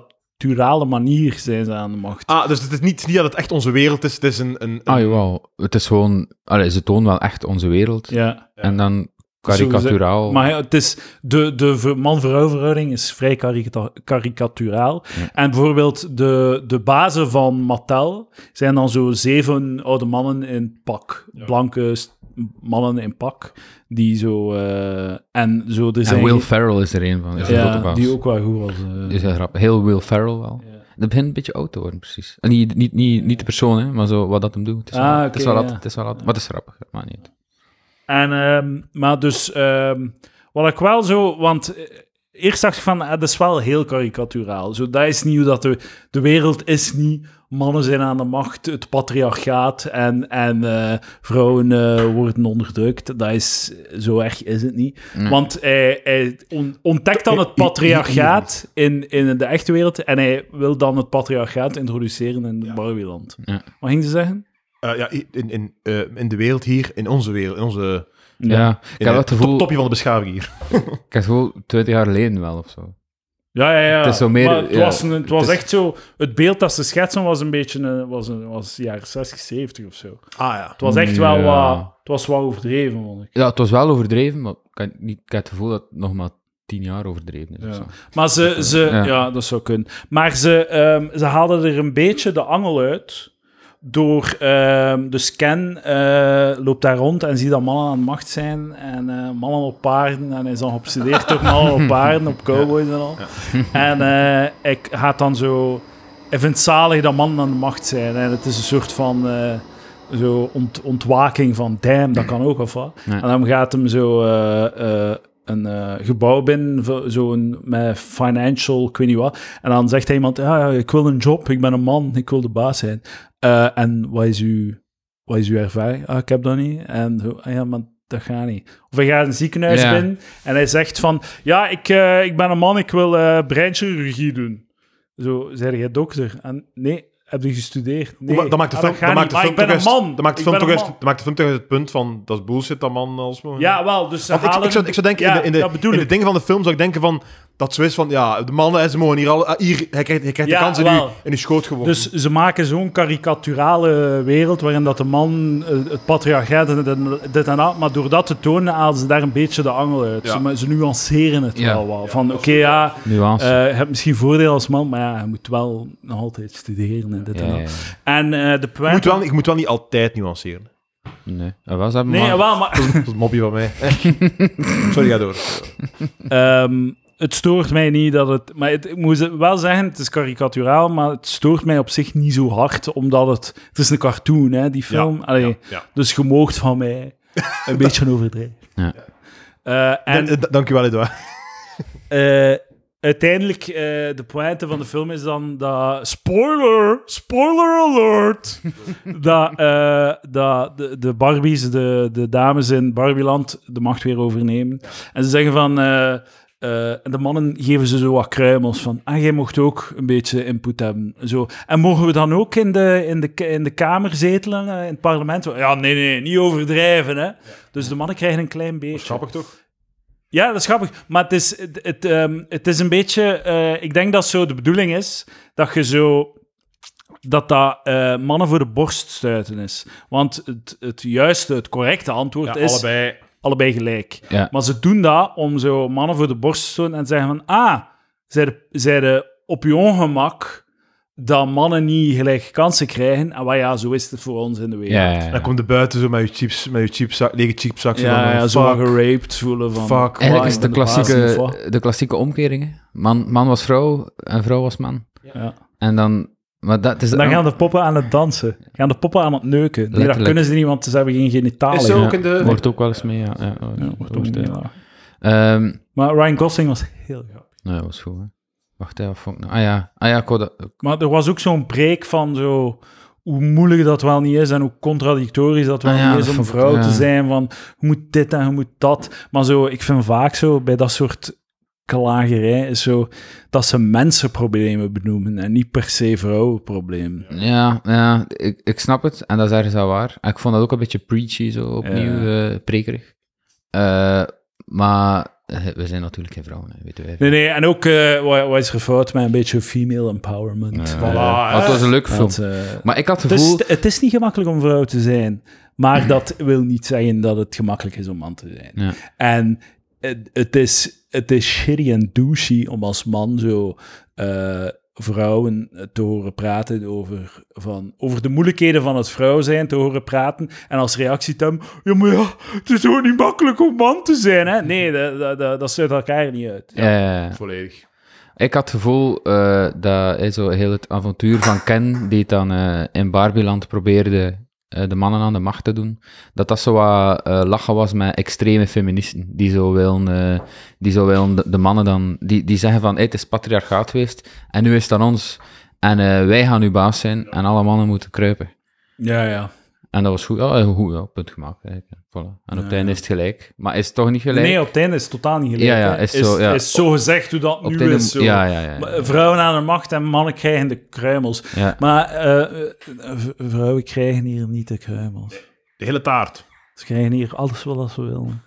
B: karikaturale manier zijn ze aan de macht.
A: Ah, dus het is niet, niet dat het echt onze wereld is. Het is een... een, een-
C: Ah, jawel. Het is gewoon... Allee, ze tonen wel echt onze wereld.
B: Ja.
C: En dan
B: Sowieso.
C: karikaturaal.
B: Maar ja, het is, de, de ver- man-vrouw verhouding is vrij karikata- karikaturaal. En bijvoorbeeld de, de bazen van Mattel zijn dan zo zeven oude mannen in pak. Blanke st- mannen in pak. Die zo... eh, en zo er zijn...
C: en Will Ferrell is er een van. Is een grote
B: ja,
C: baas.
B: die ook wel goed was. eh.
C: Is heel grappig. Heel Will Ferrell wel. Dat begint een beetje oud te worden, precies. En niet, niet, niet, niet de persoon, hè, maar zo wat dat hem doet. Het is,
B: Ah,
C: wel, het is
B: oké,
C: wel
B: ja.
C: wat, het is wel wat. Maar het is grappig, dat maakt niet uit.
B: En, ehm, maar dus, ehm, wat ik wel zo, want eh, eerst dacht ik van, eh, dat is wel heel karikaturaal. Zo, dat is niet hoe dat de, de wereld is niet. Mannen zijn aan de macht, het patriarchaat en, en eh, vrouwen eh, worden onderdrukt. Dat is, zo erg is het niet. Want hij, hij on- ontdekt dan het patriarchaat in, in de echte wereld en hij wil dan het patriarchaat introduceren in het Barbieland.
C: Ja.
B: Wat ging ze zeggen?
A: eh, ja, in, in, eh, in de wereld hier, in onze wereld, in onze...
C: Ja, ik
A: in
C: heb wel
A: het
C: het gevoel...
A: top- topje van de beschaving hier.
C: Ik heb het gevoel, 20 jaar geleden wel, of zo.
B: Ja, ja, ja.
C: Het is zo meer-
B: Maar het
C: ja,
B: was, een- het was
C: het is-
B: echt zo... Het beeld dat ze schetsen was een beetje... eh, was, een, was jaren 60, 70 of zo.
A: Ah ja.
B: Het was echt wel
C: Ja.
B: wat... Het was wel overdreven, vond ik.
C: Ja, het was wel overdreven, maar ik heb, niet, ik heb het gevoel dat het nog maar 10 jaar overdreven is. of
B: Ja.
C: zo.
B: Maar ze... ze ja.
C: Ja.
B: dat zou kunnen. Maar ze, ehm, ze haalden er een beetje de angel uit... Door... ehm dus Ken eh, loopt daar rond en ziet dat mannen aan de macht zijn. En eh, mannen op paarden. En hij is dan geobsedeerd door mannen op paarden, op cowboys en al. En eh, ik gaat dan zo... Hij vindt zalig dat mannen aan de macht zijn. En het is een soort van eh, zo ont- ontwaking van damn, dat kan ook of wat.
C: Nee.
B: En dan gaat hem zo eh, eh, een eh, gebouw binnen, v- zo een, met financial, ik weet niet wat. En dan zegt hij iemand, ja, ja, ik wil een job, ik ben een man, ik wil de baas zijn. Eh, en wat is uw, wat is uw ervaring? Ah, ik heb dat niet. En zo, ah ja, maar dat gaat niet. Of hij gaat een ziekenhuis
C: Ja.
B: binnen en hij zegt van, ja, ik, eh, ik ben een man, ik wil eh, breinchirurgie doen. Zo, zei jij dokter? En nee, heb je gestudeerd? Nee,
A: Oh, Maar dat maakt de
B: Ah,
A: film,
B: gaat
A: dat maakt
B: niet.
A: de
B: Ah,
A: film
B: ik ben
A: toch
B: een
A: juist-
B: man.
A: Dat maakt de
B: Ik
A: film toch
B: ben
A: juist-
B: een man.
A: dat maakt de film toch juist het punt van dat is bullshit dat man als man.
B: Ja, wel, dus ze
A: Want ik,
B: halen...
A: ik, zou, ik zou denken,
B: Ja,
A: in, de, in, de,
B: dat bedoel
A: in de
B: ik.
A: dingen van de film zou ik denken van, dat zo is van, ja, de mannen, hè, ze mogen hier, al, ah, hier hij krijgt, hij krijgt
B: Ja,
A: de kans in,
B: wel.
A: uw, in uw schoot gewoon.
B: Dus ze maken zo'n karikaturale wereld waarin dat de man eh, het patriarchaat en dit- dit en dat, maar door dat te tonen halen ze daar een beetje de angel uit.
A: Ja.
B: Ze, ma- ze nuanceren het
C: Ja.
B: wel wat. Van oké, ja,
C: Nuance.
B: eh, je hebt misschien voordeel als man, maar ja, je moet wel nog altijd studeren en dit
C: ja,
B: en
C: ja,
B: dat.
C: ja.
B: En eh, de
A: ik, moet
B: pointe...
A: wel, ik moet wel niet altijd nuanceren.
C: Nee. Ah, En was dat
B: Nee,
C: maar...
B: wel, maar...
A: Dat is een mopje van mij. Sorry, ga door.
B: Ehm, het stoort mij niet dat het. Maar het, ik moet wel zeggen, het is karikaturaal, maar het stoort mij op zich niet zo hard, omdat het. Het is een cartoon, hè, die film. Allee,
A: ja.
B: Dus je moogt van mij een beetje overdrijven.
C: Ja.
B: Eh, en
A: En, dankjewel, Edouard.
B: eh, uiteindelijk, eh, de pointe van de film is dan dat... Spoiler! Spoiler alert! dat eh, dat de, de Barbies, de, de dames in Barbieland, de macht weer overnemen. En ze zeggen van... eh, eh, en de mannen geven ze zo wat kruimels van. En jij mocht ook een beetje input hebben. Zo. En mogen we dan ook in de, in de, in de Kamer zetelen, eh, in het parlement? Ja, nee, nee, niet overdrijven. Hè? Dus de mannen krijgen een klein beetje.
A: Grappig toch?
B: Ja, dat is grappig. Maar het is, het, het, ehm, het is een beetje... eh, ik denk dat zo de bedoeling is dat je zo... Dat dat eh, mannen voor de borst stuiten is. Want het, het juiste, het correcte antwoord
A: Ja,
B: is
A: allebei.
B: allebei gelijk.
C: Ja.
B: Maar ze doen dat om zo mannen voor de borst te stoten en te zeggen van... Ah, zij de- zij de op je ongemak dat mannen niet gelijke kansen krijgen. En wat ja, zo is het voor ons in de wereld.
C: Ja, ja,
A: Dan
C: ja.
A: komt de buiten zo met je chips, met je chipzak, lege chipzak. zo
B: Ja,
A: van,
B: ja,
A: fuck,
B: zo wat geraped voelen van...
A: Fuck.
C: Eigenlijk
B: Ah,
C: is
B: ik
C: het de
B: ben baas, niet waar?
C: klassieke, de klassieke omkering. hè. Man, man was vrouw en vrouw was man.
B: Ja.
C: En dan... Maar dat is
B: Dan gaan de poppen aan het dansen. Gaan de poppen aan het neuken. Nee, dat
C: Letterlijk.
B: kunnen ze niet, want ze hebben geen genitalen.
A: Is zo ook in de...
C: Wordt ook wel eens mee, ja. ja, ja,
B: Ja, wordt ook
C: ja.
B: niet laag.
C: Ehm,
B: Maar Ryan Gosling was heel grappig.
C: nou, dat was goed, hè. Wacht, hè, wat vond ik nou? Ah ja, ah, ja ik wou dat-
B: Maar er was ook zo'n preek van zo... Hoe moeilijk dat wel niet is en hoe contradictorisch dat wel
C: Ah ja,
B: niet
C: dat
B: is om
C: vond ik-
B: vrouw
C: ja.
B: te zijn. Van, je moet dit en je moet dat. Maar zo, ik vind vaak zo, bij dat soort klagerij, is zo dat ze mensenproblemen benoemen en niet per se vrouwenproblemen.
C: Ja, ja ik, ik snap het. En dat is ergens wel waar. En ik vond dat ook een beetje preachy, zo opnieuw, eh prekerig. Eh, maar eh, we zijn natuurlijk geen vrouwen, hè, weten wij.
B: Nee, nee, en ook, eh wat, wat is er fout met een beetje female empowerment?
C: Eh,
B: Voilà,
C: maar
B: hè.
C: het was een leuke film.
B: Want, eh,
C: Maar ik had het
B: het, is,
C: gevoel...
B: het is niet gemakkelijk om vrouw te zijn, maar dat wil niet zeggen dat het gemakkelijk is om man te zijn.
C: Ja.
B: En het, het is, het is shitty en douchey om als man zo eh, vrouwen te horen praten over, van, over de moeilijkheden van het vrouw zijn, te horen praten. En als reactie te hebben, ja, maar ja, het is ook niet makkelijk om man te zijn. Hè? Nee, dat, dat, dat, dat sluit elkaar niet uit.
C: Ja, ja, ja.
A: Volledig.
C: Ik had het gevoel eh, dat hij zo heel het avontuur van Ken, die het dan eh, in Barbieland probeerde eh, de mannen aan de macht te doen, dat dat zo wat eh, lachen was met extreme feministen, die zo willen, eh, die zo willen de, de mannen dan, die, die zeggen van, hey, het is patriarchaat geweest, en nu is het aan ons, en eh, wij gaan nu baas zijn, en alle mannen moeten kruipen.
B: Ja, ja.
C: En dat was goed, ja, heel goed ja, punt gemaakt. eigenlijk, ja. Voilà. En op het einde is het gelijk, maar is het toch niet gelijk?
B: Nee, op het einde is het totaal niet gelijk.
C: Ja, ja,
B: hè.
C: is zo, ja.
B: is zo gezegd hoe dat
C: op het
B: nu
C: einde-
B: is. Zo.
C: ja, ja, ja.
B: Maar eh, Vrouwen aan de macht en mannen krijgen de kruimels.
C: ja.
B: Maar eh, eh, v- vrouwen krijgen hier niet de kruimels.
A: De hele taart.
B: Ze krijgen hier alles wel als ze willen.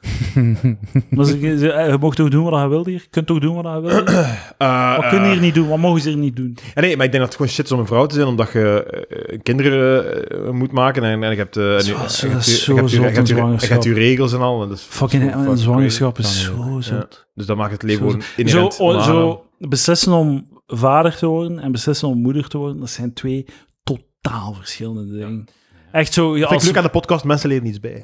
B: maar ze, ze- eh, je mag toch doen wat je wilt hier? Je kunt toch doen wat je wilt hier?
A: Eh,
B: Wat kunnen
A: eh,
B: hier niet doen? Wat mogen ze hier niet doen?
A: Ja, nee, maar ik denk dat het gewoon shit is om een vrouw te zijn, omdat je eh, eh, kinderen eh, moet maken en, en je hebt... eh, en je-
B: Zo-
A: en je
B: zo-
A: hebt je-
B: zo
A: je hebt je-
B: zot,
A: je hebt je-
B: een
A: Je hebt je regels en al. en dat is
B: Fucking,
A: zo
B: een zwangerschap is
A: crazy.
B: zo
A: Ja.
B: zot.
A: Dus dat maakt het leven
B: Zo-
A: gewoon
B: Zo,
A: inherent
B: o-
A: onaangenaam.
B: zo beslissen om vader te worden en beslissen om moeder te worden, dat zijn twee totaal verschillende dingen. Echt zo, ja,
A: Vind ik
B: als,
A: leuk aan de podcast, mensen leren niets bij.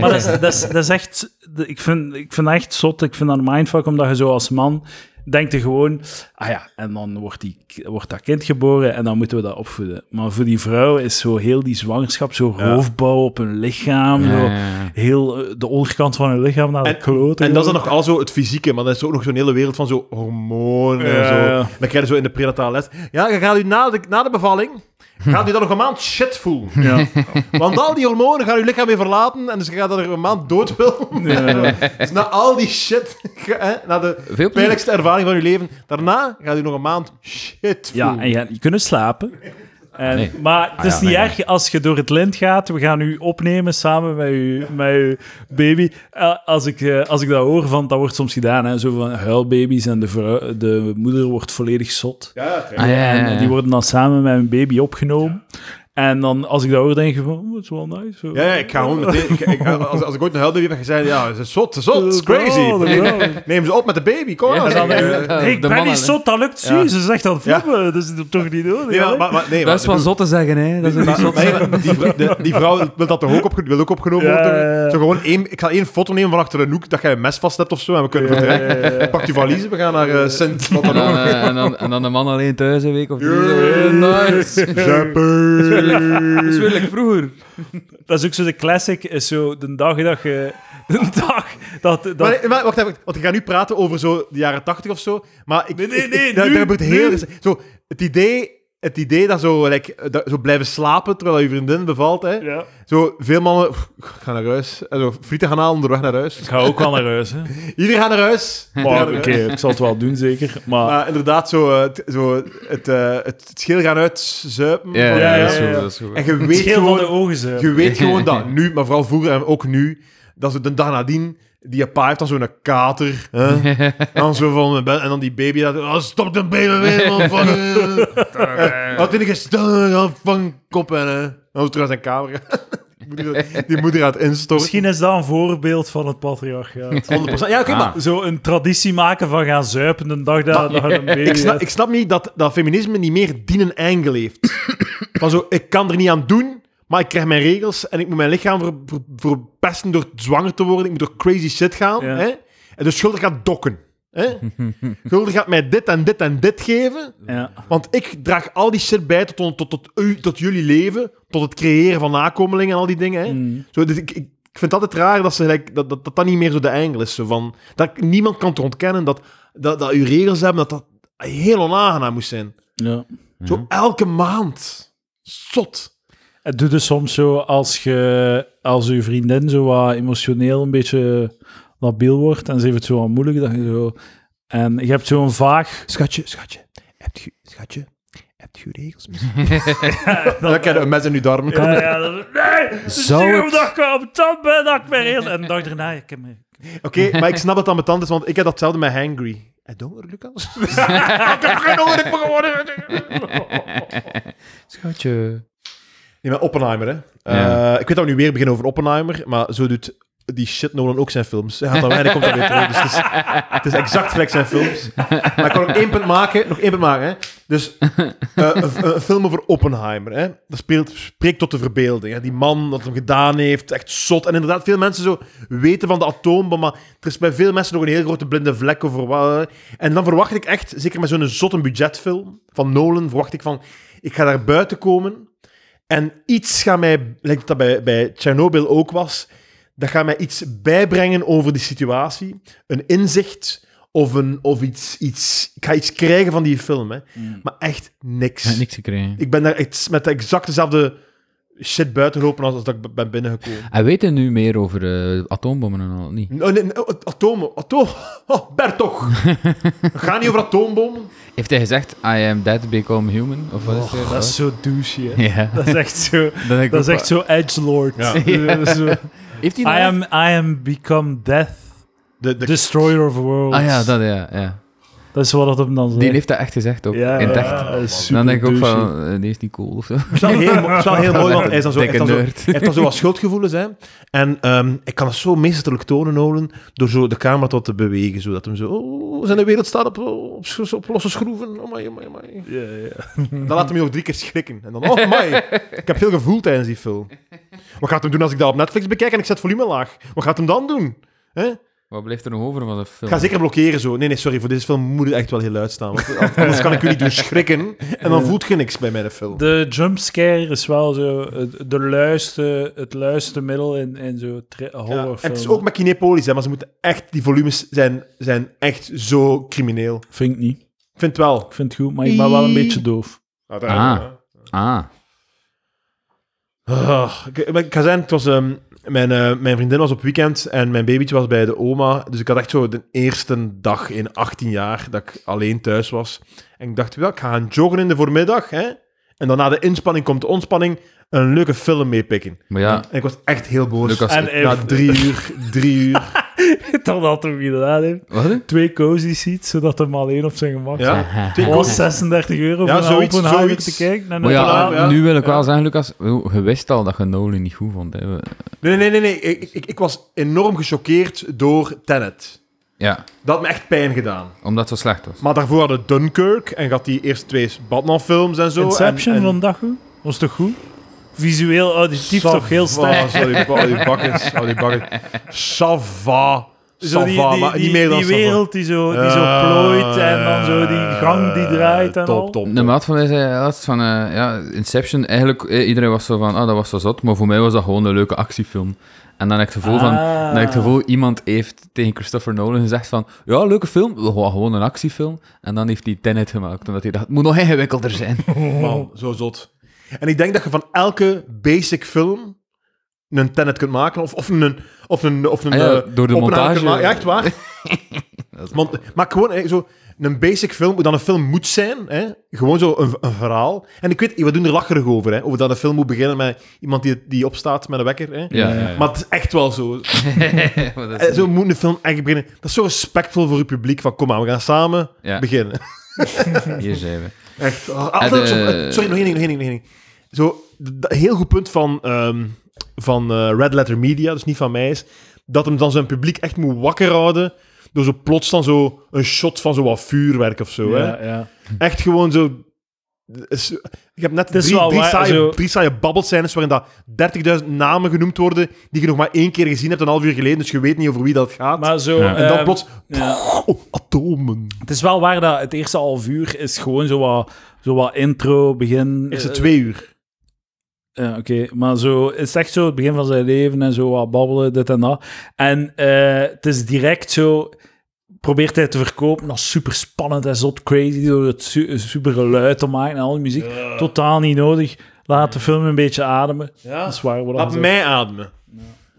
B: maar dat is, dat is, dat is echt... de- Ik vind, ik vind dat echt zot. Ik vind dat een mindfuck, omdat je zo als man... Denkt je gewoon, ah ja, en dan wordt, die, wordt dat kind geboren en dan moeten we dat opvoeden. Maar voor die vrouw is zo heel die zwangerschap, zo
A: Ja.
B: roofbouw op hun lichaam,
C: Ja,
B: zo
C: ja, ja.
B: heel eh, de onderkant van hun lichaam naar de
A: En-
B: kloten.
A: En dat is dan nog al zo het fysieke, maar dat is ook nog zo'n hele wereld van zo hormonen en
B: Ja,
A: zo.
B: ja.
A: Dan krijg je zo in de prenatale les. Ja, je gaat u na de, na de bevalling, gaat u dan nog een maand shit voelen.
B: Hm. Ja.
A: Want al die hormonen gaan uw lichaam weer verlaten en dus je gaat er een maand dood willen. Dus na al die shit, ga- hè, na de
C: Veel plezier.
A: pijnlijkste ervaring van uw leven, daarna gaat u nog een maand shit voelen.
B: Ja, en je, je kunt slapen. En,
C: nee. Ah
B: Maar het is
C: ja,
B: niet
C: nee,
B: erg als je door het lint gaat. We gaan u opnemen samen met je, met uw baby. Eh, als, ik, eh, als ik dat hoor, van, dat wordt soms gedaan. Hè, zo van huilbabies en de, vrouw, de moeder wordt volledig zot.
A: Ja, het-
C: Ah, ja, ja,
B: En
C: ja.
B: eh, die worden dan samen met hun baby opgenomen. En dan, als ik dat hoor, denk ik van, oh, dat is wel nice. zo.
A: ja, ja, ik ga gewoon meteen... ik- ik- als, als ik ooit een helder heb gezegd, ja, ze is zot, ze is zot,
B: Oh,
A: het is crazy.
B: dat is wel. En
A: Neem ze op met de baby, kom aan.
B: dan,
A: Eh,
B: eh, hey, ik ben
C: de mannen,
B: niet
C: hè.
B: zot, dat lukt.
A: Ja.
B: Zie, ze zegt dat
A: Ja.
B: filmen. Dat is toch niet nodig?
A: Nee, maar,
B: hè?
A: maar, maar- nee,
C: Dat is
A: maar-
C: wel zot te zeggen, hè. Dat is ook niet
A: Maar-
C: zot.
A: maar ja, die, vrou- de- die vrouw wil dat toch ook, opge- wil ook opgenomen
B: Ja,
A: worden?
B: ja, ja.
A: Zo gewoon één, ik ga één foto nemen van achter een hoek dat jij een mes vast hebt of zo en we kunnen vertrekken. Pak je valise, we gaan naar eh, Sint. Wat
C: En
A: dan
C: dan,
A: ook.
C: eh, en, dan, en dan de man alleen thuis een week of drie. eh,
A: Yeah.
C: Nice.
A: Zapper.
C: Dat is weer like vroeger.
B: Dat is ook zo de classic, is zo de dag dat je de dag dat... dat
A: Maar, maar wacht even, want ik ga nu praten over zo de jaren tachtig of zo. Maar ik,
B: Nee, nee,
A: ik-
B: nee,
A: ik- daar-
B: nu,
A: daar gebeurt heel
B: nu.
A: zo het idee, het idee dat zo, like, dat, zo blijven slapen terwijl je vriendin bevalt. Hè.
B: ja.
A: Zo veel mannen, "Pff, ik ga naar huis. En zo frieten gaan halen onderweg naar huis.
B: Ik ga ook wel naar huis, hè.
A: Iedereen gaat naar huis. Iedereen gaat
B: Maar
A: naar
B: oké,
A: huis.
B: ik zal het wel doen, zeker. Maar,
A: Maar inderdaad, zo, eh, t- zo het, eh, het schil gaan uitzuipen.
C: Ja,
A: van-
B: ja,
C: dat is
B: ja,
C: goed,
B: ja.
C: dat is goed.
A: En je
B: het
A: weet
B: scheel
A: gewoon...
B: van de ogen zijn.
A: Je weet gewoon dat nu, maar vooral vroeger en ook nu, dat ze de dag nadien, die pa heeft dan zo'n kater. Hè? dan zo van, eh, en dan die baby, dat, oh, stop de baby weer, man. Van, eh, had in de gestel, van kop en hè. Dan zo terug aan zijn kamer. Moeder- die moeder gaat instorten.
B: Misschien is dat een voorbeeld van het patriarchaat.
A: 100%. Ja, oké,
C: Ah.
A: maar...
B: Zo een traditie maken van gaan zuipen de dag dat dat je een baby
A: Ik snap,
B: hebt.
A: ik snap niet dat, dat feminisme niet meer dienen engel heeft. Van zo, ik kan er niet aan doen, maar ik krijg mijn regels en ik moet mijn lichaam ver, ver- verpesten door zwanger te worden. Ik moet door crazy shit gaan.
B: Ja.
A: Hè? En de schuldig gaat dokken. Hè? schuldig gaat mij dit en dit en dit geven.
B: Ja.
A: Want ik draag al die shit bij tot, on- tot, tot, u- tot jullie leven. Tot het creëren van nakomelingen en al die dingen. Hè?
B: Mm.
A: Zo, dus ik, ik, ik vind het altijd raar dat, ze, gelijk- dat, dat, dat dat niet meer zo de engel is. Zo van, dat niemand kan te ontkennen dat, dat, dat uw regels hebben, dat dat heel onaangenaam moest zijn.
B: Ja.
A: Zo elke maand. Zot.
B: Het doet dus soms zo als je als je vriendin zo wat emotioneel een beetje labiel wordt en ze heeft het zo wat moeilijk dat je zo en je hebt zo'n vaag
A: Schatje, schatje. Hebt je, schatje, hebt je regels misschien? dan krijg je een mes in je darmen.
B: ja, ja, dat- nee
D: Zou
B: zie je
D: het-
B: omdat ik op tand ben dat ik mijn regels en de dag daarna ik heb mijn-
A: Oké, maar ik snap dat dat met tand is, want ik heb datzelfde met hangry. En honger, Lucas? ik heb geen honger, ik ben
D: Schatje.
A: Nee, maar Oppenheimer, hè.
C: Ja.
A: Eh, ik weet dat we nu weer beginnen over Oppenheimer, maar zo doet die shit Nolan ook zijn films. Hij gaat dan weg en hij komt dan weer terug. Dus het, is, het is exact gelijk zijn films. Maar ik kan nog één punt maken. Nog één punt maken, hè. Dus eh, een, een film over Oppenheimer, hè. Dat speelt, spreekt tot de verbeelding. Hè. Die man, wat hem gedaan heeft, echt zot. En inderdaad, veel mensen zo weten van de atoombom, maar er is bij veel mensen nog een heel grote blinde vlek over wat... En dan verwacht ik echt, zeker met zo'n zotte budgetfilm van Nolan, verwacht ik van... Ik ga daar buiten komen... En iets gaat mij, lijkt dat bij, bij Tsjernobyl ook was, dat gaat mij iets bijbrengen over die situatie. Een inzicht of, een, of iets, iets... Ik ga iets krijgen van die film, hè. Maar echt niks.
C: niks gekregen.
A: Ik ben daar echt met de exact dezelfde shit buiten gelopen als, als dat ik b- ben binnengekomen.
C: Hij weet er nu meer over eh, atoombommen en al, niet?
A: Oh, nee, nee, oh, atomen. Atoom. Oh, Bert toch. Ga niet over atoombom.
C: Heeft hij gezegd, I am dead, become human? Of wat is er?
B: dat is zo douche hè.
C: Ja.
B: dat is echt zo
C: Dat ik
B: dat is
C: ook-
B: echt zo nou edge lord
A: Ja.
B: I
C: Heeft hij dat echt?
B: am I am become death
A: De, de,
B: destroyer of worlds
C: Ah ja, dat ja. ja.
B: Dat is wat dat hem dan zegt
C: Die heeft dat echt gezegd ook.
B: ja,
C: in het echt.
B: ja, dat is super
C: dan denk ik ook
B: douchey.
C: van, eh, die is niet cool of zo.
A: Het is wel heel, mo- het is wel heel mooi, want hij is dan zo... hij is
C: Dikke
A: dan zo-
C: nerd.
A: Hij heeft dan zo wat schuldgevoelens, hè. En ehm, ik kan het zo meesterlijk tonen, Nolan, door zo de camera tot te bewegen, zodat hem zo... Oh, zijn de wereld staat op, op, sch- op losse schroeven. Oh my, oh my, oh my.
B: Ja, ja.
A: Dan laat hem je nog drie keer schrikken. En dan, oh my, ik heb veel gevoel tijdens die film. Wat gaat hem doen als ik dat op Netflix bekijk en ik zet volume laag? Wat gaat hem dan doen? Hè?
C: Wat blijft er nog over van de film?
A: Ik ga zeker blokkeren zo. Nee, nee, sorry, voor deze film moet het echt wel heel luid staan. Want anders kan ik jullie doen schrikken en dan voelt je niks bij mijn film.
B: De jumpscare is wel zo het, de luiste, het luiste middel in, in zo'n tri-
A: Ja,
B: horrorfilm.
A: en het is ook met Kinepolis, hè, maar ze moeten echt, die volumes zijn, zijn echt zo crimineel.
B: Vind ik niet.
A: Ik vind het wel.
B: Ik vind het goed, maar ik ben wel een beetje doof.
C: Ah. Ah.
A: Ah, ik, maar ik ga zijn, het was, ehm, mijn, eh, mijn vriendin was op weekend en mijn babytje was bij de oma. Dus ik had echt zo de eerste dag in 18 jaar dat ik alleen thuis was. En ik dacht, wel, ik ga gaan joggen in de voormiddag. Hè? En dan na de inspanning komt de ontspanning een leuke film meepikken.
C: Maar ja,
A: En ik was echt heel boos.
C: Lucas...
B: En
A: Na
B: even,
A: drie uur, drie uur.
B: dan had hem gedaan heeft.
C: Wat?
B: Twee cozy seats, zodat hem alleen op zijn gemak zat.
A: Ja, twee
B: Het was
A: koos-
B: 36 euro
A: Ja,
B: voor naar
A: zoiets,
B: Oppenheimer
A: zoiets.
B: te kijken. En
C: Maar ja, ah,
A: Ja.
C: nu wil ik wel zeggen, Lucas, oh, je wist al dat je Nolan niet goed vond. Hè. We-
A: Nee, nee, nee, nee. Ik, ik, ik was enorm gechoqueerd door Tenet.
C: Ja,
A: Dat had me echt pijn gedaan.
C: omdat het zo slecht was.
A: Maar daarvoor hadden Dunkirk en gaat die eerst twee Batman-films en zo.
B: Inception
A: en, en...
B: vandaag goed? Was toch goed? Visueel, auditief toch heel sterk.
A: Sava, sorry, ba- die bakkers. Oh, die bakkers. Sava.
B: Zo die,
A: Ça va,
B: die,
A: maar
B: die,
A: niet meer dan
B: die
A: ça va.
B: wereld die zo, die zo plooit en dan zo die gang die draait en
A: top,
B: al.
A: Top, top.
C: De maat van mij zei laatst van, eh, ja, Inception, eigenlijk, eh, iedereen was zo van, ah, dat was zo zot, maar voor mij was dat gewoon een leuke actiefilm. En dan heb ik het gevoel van,
B: Ah.
C: dan heb ik het gevoel, iemand heeft tegen Christopher Nolan gezegd van, ja, leuke film, we gaan gewoon een actiefilm. En dan heeft hij Tenet gemaakt, omdat hij dacht, het moet nog ingewikkelder zijn.
A: Man, zo zot. En ik denk dat je van elke basic film een Tenet kunt maken. Of, of een... Of een, of een
C: Ah ja,
A: eh,
C: door
A: Oppenheimer
C: de montage.
A: kunt maken. Ja, echt waar. Want, maar gewoon hè, zo... Een basic film, hoe dan een film moet zijn. Hè? Gewoon zo een, een verhaal. En ik weet, we doen er lacherig over. Hè? Over dat een film moet beginnen met iemand die, die opstaat met een wekker. Hè?
C: Ja, ja,
A: Maar het is echt wel zo.
C: Maar dat is-
A: Eh, Zo moet een film echt beginnen. Dat is zo respectvol voor het publiek. Van, kom maar, we gaan samen
C: Ja.
A: beginnen.
C: Hier zijn we.
A: Echt. Ah, altijd
C: de-
A: zo- eh, Sorry, nog één ding, nog één ding, nog één ding. Zo, d- d- heel goed punt van, ehm, van eh, Red Letter Media, dus niet van mij is, dat hem dan zijn publiek echt moet wakker houden door zo plots dan zo een shot van zo wat vuurwerk of zo. Hè?
B: Ja, ja.
A: Echt gewoon zo... is- Ik heb net
B: is
A: drie,
B: wel
A: drie,
B: waar,
A: saaie,
B: zo-
A: drie saaie babbelscènes waarin dat 30.000 namen genoemd worden die je nog maar één keer gezien hebt, een half uur geleden, dus je weet niet over wie dat gaat.
B: Maar zo...
C: Ja.
A: en dan
B: ehm,
A: plots...
B: ja.
A: Oh, atomen.
B: Het is wel waar dat het eerste half uur is gewoon zo wat, zo wat intro, begin...
A: Eerste
B: eh,
A: twee uur.
B: Ja, oké. Maar zo, het is echt zo het begin van zijn leven en zo wat babbelen, dit en dat. En eh, het is direct zo... Probeert hij te verkopen als super spannend en zot crazy door het su- super geluid te maken en al die muziek. Totaal niet nodig. Laat de film een beetje ademen. Dat is waar. Wat
A: Laat
B: dat
A: mij ademen.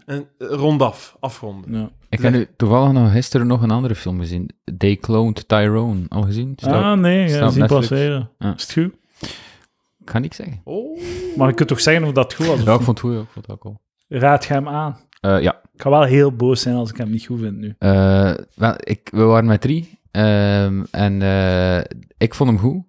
A: En eh, rondaf, afronden.
B: Ja.
C: Ik heb nu toevallig nog gisteren nog een andere film gezien. They Cloned Tyrone. Al gezien? Dus Staat-
B: Ah, nee.
C: staat
B: Ja,
C: op
B: zien
C: Netflix.
B: passeren.
C: Ja.
B: Is het goed?
C: Ik ga niks zeggen.
A: Oh.
B: Maar je kunt toch zeggen of dat goed was? of
C: Ja, ik
B: niet?
C: vond het goed. ja, Ik vond het ook wel.
B: Raad je hem aan?
C: Eh, ja.
B: Ik ga wel heel boos zijn als ik hem niet goed vind nu.
C: Eh, wel, ik, we waren met drie. Ehm, en eh, ik vond hem goed.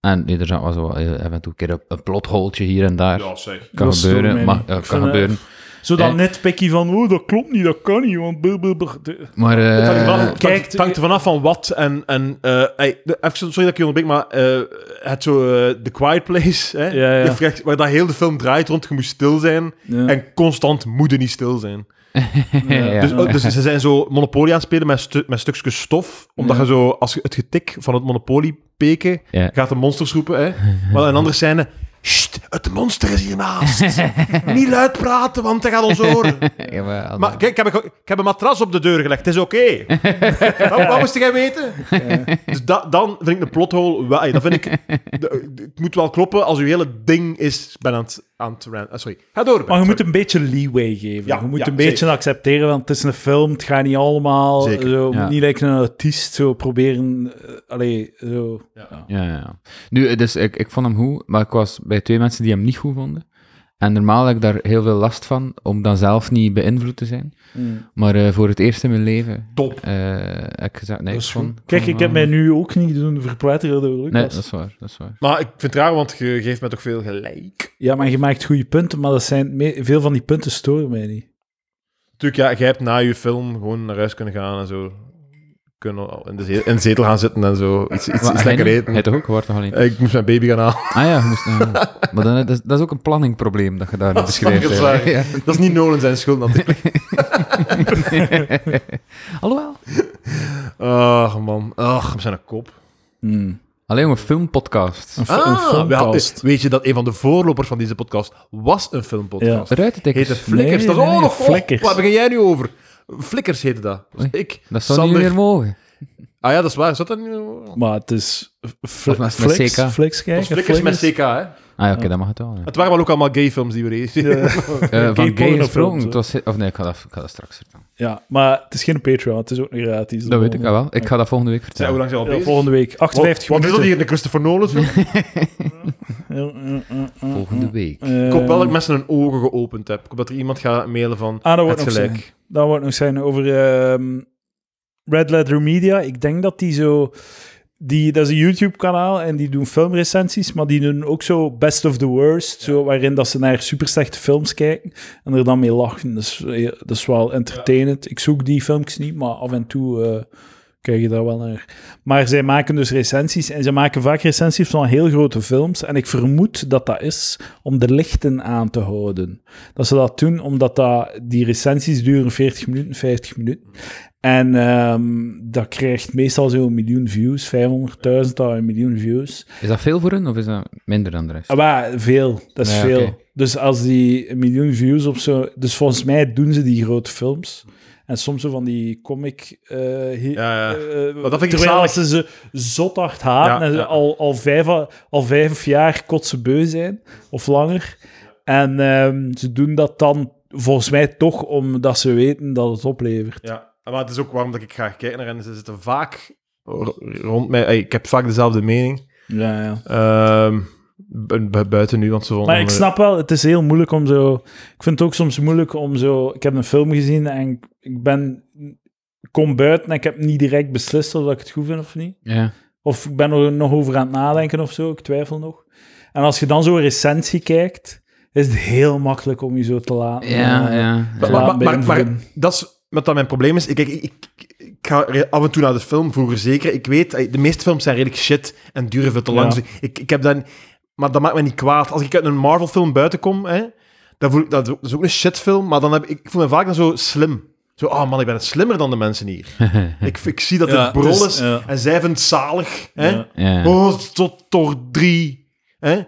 C: En nee, er zat wel zo wat, eh, af en toe een keer een- een plotholtje hier en daar.
A: Ja, zeg.
C: kan
B: dat stoort mij
C: gebeuren. Mag,
B: niet.
C: ja,
B: Ik
C: kan
B: vind, eh,
C: gebeuren.
B: Zo dan
C: Eh.
B: net pikkie van, oh, dat klopt niet, dat kan niet, want... blub, blub, blub. De-
C: Maar eh,
A: Het hangt er vanaf-
B: kijk,
A: het hangt er vanaf van wat en... en eh, hey, de- even, sorry dat ik je onderbreek, maar eh, het zo eh, The Quiet Place, hè,
B: Ja, ja.
A: Je vraagt- waar dat heel de film draait rond, je moet stil zijn
B: Ja.
A: en constant moeten niet stil zijn.
C: ja.
A: Dus, oh, dus ze zijn zo Monopoly aan het spelen met, stu- met stukjes stof, omdat
B: Ja.
A: je zo, als je het getik van het Monopoly peken,
C: Ja.
A: gaat de monsters roepen, hè. Maar een andere scène... Sst, het monster is hiernaast. Niet luid praten, want hij gaat ons horen.
C: ja, maar,
A: Maar kijk, ik heb, een- ik heb een matras op de deur gelegd. Het is oké. wat, wat moest jij weten? Dus da- dan vind ik een plothole... wel- ey, Dat vind ik... de- de- Het moet wel kloppen als uw hele ding is... Ik ben aan het... Aan het ran- ah, sorry. Ga door. Ben.
B: Maar je moet
A: Sorry.
B: een beetje leeway geven.
A: Ja,
B: je moet
A: ja,
B: een beetje
A: zeker.
B: accepteren, want het is een film, het gaat niet allemaal.
A: Zeker,
B: Zo,
C: ja.
B: moet Niet lijken een artiest, zo proberen... eh, allee, zo... Ja.
C: Ja, ja, ja. Nu, eh, dus ik, ik vond hem goed, maar ik was bij twee mensen die hem niet goed vonden. En normaal heb ik daar heel veel last van, om dan zelf niet beïnvloed te zijn.
A: Hmm.
B: Mm.
C: Maar eh, voor het eerst in mijn leven
A: Top.
C: eh, heb ik gezegd, nee,
B: Dat
C: ik
B: is
C: vond-
B: goed. Kijk, ik heb mij nu ook niet doen verpletteren door Lucas.
C: Hmm. Nee, dat is waar, dat is waar.
A: Maar ik vind het raar, want je geeft me toch veel gelijk.
B: Ja, maar je maakt goede punten, maar dat zijn me- veel van die punten storen mij niet.
A: Natuurlijk, ja, jij hebt na je film gewoon naar huis kunnen gaan en zo... Kunnen in de zetel, in de zetel gaan zitten en zo. Iets, iets,
C: Maar
A: iets
C: hij
A: lekker
C: niet?
A: eten.
C: Hij toch ook, je wordt toch alleen...
A: Eh, Ik moest mijn baby gaan halen.
C: Ah ja, je moest, ja. maar dan, eh, dat, is, dat is ook een planningprobleem dat je daar niet beschrijft.
A: Dat is
C: hè.
A: waar.
C: Ja.
A: Dat is niet Nolan zijn schuld natuurlijk.
C: Alhoewel.
A: Ach Ah, man, ach, we zijn een kop. Hmm.
C: Alleen een filmpodcast.
B: Een, f- een
C: Ah.
B: filmcast.
A: we- weet je dat een van de voorlopers van deze podcast was een filmpodcast?
C: Ruitentikkers.
A: Heette Flikkers.
B: Nee,
A: dat is
B: nee,
A: ook nog
B: Flikkers.
A: Flikkers. Waar begin jij nu over? Flikkers heette dat. Dus
C: Oei,
A: ik,
C: Dat zou
A: Sander.
C: niet meer mogen.
A: Ah ja, dat is waar. Zat dat niet meer? Dat
B: Maar het is... Fl
C: Of met- met
B: flex,
C: CK.
B: Flex kijken,
A: was Flikkers met CK, hè?
C: Ah ja, oké, dat mag het wel. ja.
A: Het waren wel ook allemaal gay films die we rezen.
C: Eh, van gay
B: pornofilms,
C: gesproken,
B: hè.
C: het was... Of nee, ik ga dat, ik ga dat straks vertellen.
B: Ja, maar het is geen Patreon, het is ook niet gratis.
C: Dat weet ik al wel. Ik ga dat volgende week
A: Zijn hoe
C: vertellen.
A: lang zijn we al
B: Ja,
A: bezig?
B: volgende week, 58
A: Oh, Wat is dat
B: minuten.
A: hier in de Christopher Nolan film?
C: Volgende week.
B: Ehm,
A: Ik hoop wel dat ik mensen hun ogen geopend heb. Ik hoop dat er iemand gaat mailen van...
B: Eh. Ah, dat wordt
A: Het
B: nog
A: gelijk.
B: zijn. Dat wordt nog zijn over ehm, Red Letter Media. Ik denk dat die zo... Die, dat is een YouTube-kanaal en die doen filmrecensies, maar die doen ook zo best of the worst, zo, waarin dat ze naar super slechte films kijken en er dan mee lachen. Dat is, eh, dat is wel entertainend. Ik zoek die filmpjes niet, maar af en toe eh, krijg je daar wel naar. Maar zij maken dus recensies en ze maken vaak recensies van heel grote films. En ik vermoed dat dat is om de lichten aan te houden. Dat ze dat doen omdat dat, die recensies duren 40 minuten, 50 minuten. En ehm, dat krijgt meestal zo'n miljoen views, 500.000 à een miljoen views.
C: Is dat veel voor hun of is dat minder dan de rest?
B: Ah, maar veel, dat is
C: Ja,
B: veel.
C: oké.
B: Dus als die een miljoen views op zo. Dus volgens mij doen ze die grote films. En soms zo van die comic. eh, hi-
A: Ja, ja.
B: eh,
A: Maar dat vind ik
B: terwijl
A: zalig.
B: ze ze zot hard haten
A: Ja,
B: en ze
A: ja.
B: Al, al, vijf, al vijf jaar kotsebeu zijn, of langer. En ehm, ze doen dat dan volgens mij toch omdat ze weten dat het oplevert.
A: Ja, maar het is ook waarom dat ik graag kijk naar hen. Ze zitten vaak r- rond mij. Ey, Ik heb vaak dezelfde mening.
B: Ja, ja.
A: Ehm, bu- bu- buiten nu, want ze vonden
B: Maar ik snap wel, het is heel moeilijk om zo. Ik vind het ook soms moeilijk om zo. Ik heb een film gezien en ik- ik ben. ik kom buiten en ik heb niet direct beslist of dat ik het goed vind of niet.
C: Ja.
B: Of ik ben er nog over aan het nadenken of zo, ik twijfel nog. En als je dan zo'n recensie kijkt, is het heel makkelijk om je zo te laten.
C: Ja,
B: eh,
C: ja.
B: te
A: Maar, maar,
B: laten
A: maar, maar,
B: beïnvloeden.
A: dat is wat dat mijn probleem is. Ik, kijk, ik, ik, ik ga re- af en toe naar de film, vroeger zeker. Ik weet, ey, de meeste films zijn redelijk shit en duren veel te lang.
B: Ja.
A: Dus ik, ik heb dan, maar dat maakt me niet kwaad. Als ik uit een Marvel-film buiten kom, hè, dan voel ik, dat is ook- dat is ook een shitfilm, maar dan heb, ik ik voel me vaak dan zo slim. Zo, oh man, ik ben slimmer dan de mensen hier. ik, ik zie dat
B: Ja,
A: het brol
B: dus,
A: is
B: ja.
A: en zij vinden het zalig. Hè?
B: Ja.
C: ja.
A: Oh, tot door drie. Hè?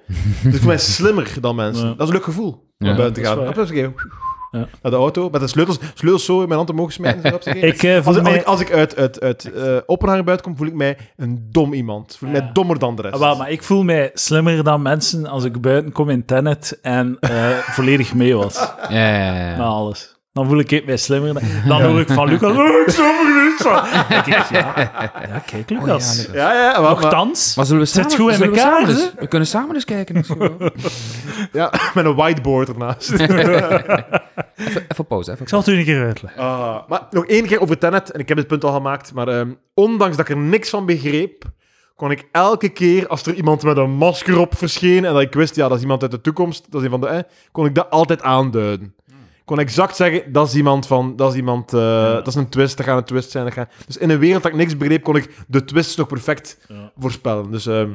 A: Dus voor mij slimmer dan mensen.
B: Ja.
A: Dat is een leuk gevoel. Om
C: Ja,
A: buiten te
B: dat
A: gaan. Hop,
B: is
A: hop, hop,
B: Ja.
A: Naar de auto, met de sleutels, sleutels zo in mijn hand omhoog smijten. zo, hop, hop, hop.
B: Ik eh,
A: als,
B: voel
A: ik- als,
B: mij.
A: ik, als ik uit, uit, uit eh, Oppenheimer buiten kom, voel ik mij een dom iemand. Voel ik
B: Ja. Ah,
A: mij dommer dan de rest.
B: Wel, maar ik voel mij slimmer dan mensen als ik buiten kom in Tenet en eh, volledig mee was.
C: Ja, ja, ja,
B: met
C: ja.
B: alles. Dan voel ik het mij slimmer. Dan, dan hoor ik van Lucas, oh, ik snap er niets van. Dan denk ik, ja, ja, kijk Lucas. Eh,
C: Oh ja,
A: Ja, ja, maar, maar-
B: Nochtans,
D: Maar zullen we
B: zit
D: samen,
B: goed in
D: zullen we
B: elkaar,
D: samen
B: hè?
D: eens- We kunnen samen eens kijken. of zo.
A: ja, met een whiteboard ernaast.
D: Even pauze, even.
B: ik zal het u een keer uitleggen.
A: Ah, maar nog één keer over Tenet, en ik heb dit punt al gemaakt, maar ehm, ondanks dat ik er niks van begreep, kon ik elke keer als er iemand met een masker op verscheen en dat ik wist, ja, dat is iemand uit de toekomst, dat is een van de, eh, kon ik dat altijd aanduiden.
B: Hmm.
A: Ik kon exact zeggen, dat is iemand van, dat is iemand, eh, dat is een twist, dat gaat een twist zijn. Dat gaat... Dus in een wereld dat ik niks begreep, kon ik de twist nog perfect
B: Ja.
A: voorspellen. Dus, ehm,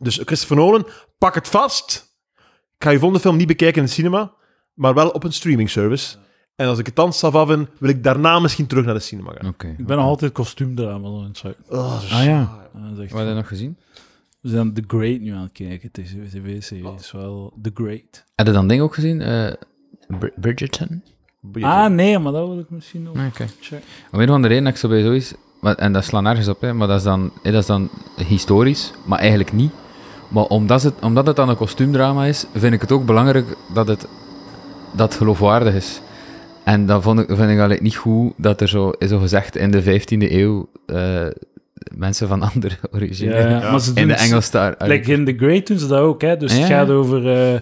A: dus Christopher Nolan, pak het vast. Ik ga je volgende film niet bekijken in de cinema, maar wel op een streaming service. En als ik het dan zal afwin, wil ik daarna misschien terug naar de cinema gaan.
C: Oké.
B: Ik ben nog altijd kostuumdrama aan het zeggen.
A: Oh, zo
C: Ah ja.
A: saai.
B: Ja, dat is
C: Wat heb
B: echt-
C: je nog gezien?
B: We zijn The Great nu aan het kijken. Het is een tv-serie. Het is wel The Great.
C: Had je dan ding ook gezien? Eh, Brid- Bridgerton?
B: Ah, nee, maar dat wil ik misschien nog
C: Nee, Ah, oké.
B: checken.
C: Om een van de reden dat ik zo bij zoiets... maar- En dat slaat nergens op, hè, maar dat is, dan, hè, dat is dan historisch, maar eigenlijk niet. Maar omdat het, omdat het dan een kostuumdrama is, vind ik het ook belangrijk dat het, dat het geloofwaardig is. En dat vond ik, vind ik eigenlijk niet goed dat er zo, zo gezegd in de 15e eeuw eh, mensen van andere origine
B: Ja, ja, maar ze doen
C: in de
B: het-
C: Engels daar... ah,
B: Like in The Great doen ze dat ook, hè? Dus
C: Ja,
B: het
C: ja.
B: gaat over eh,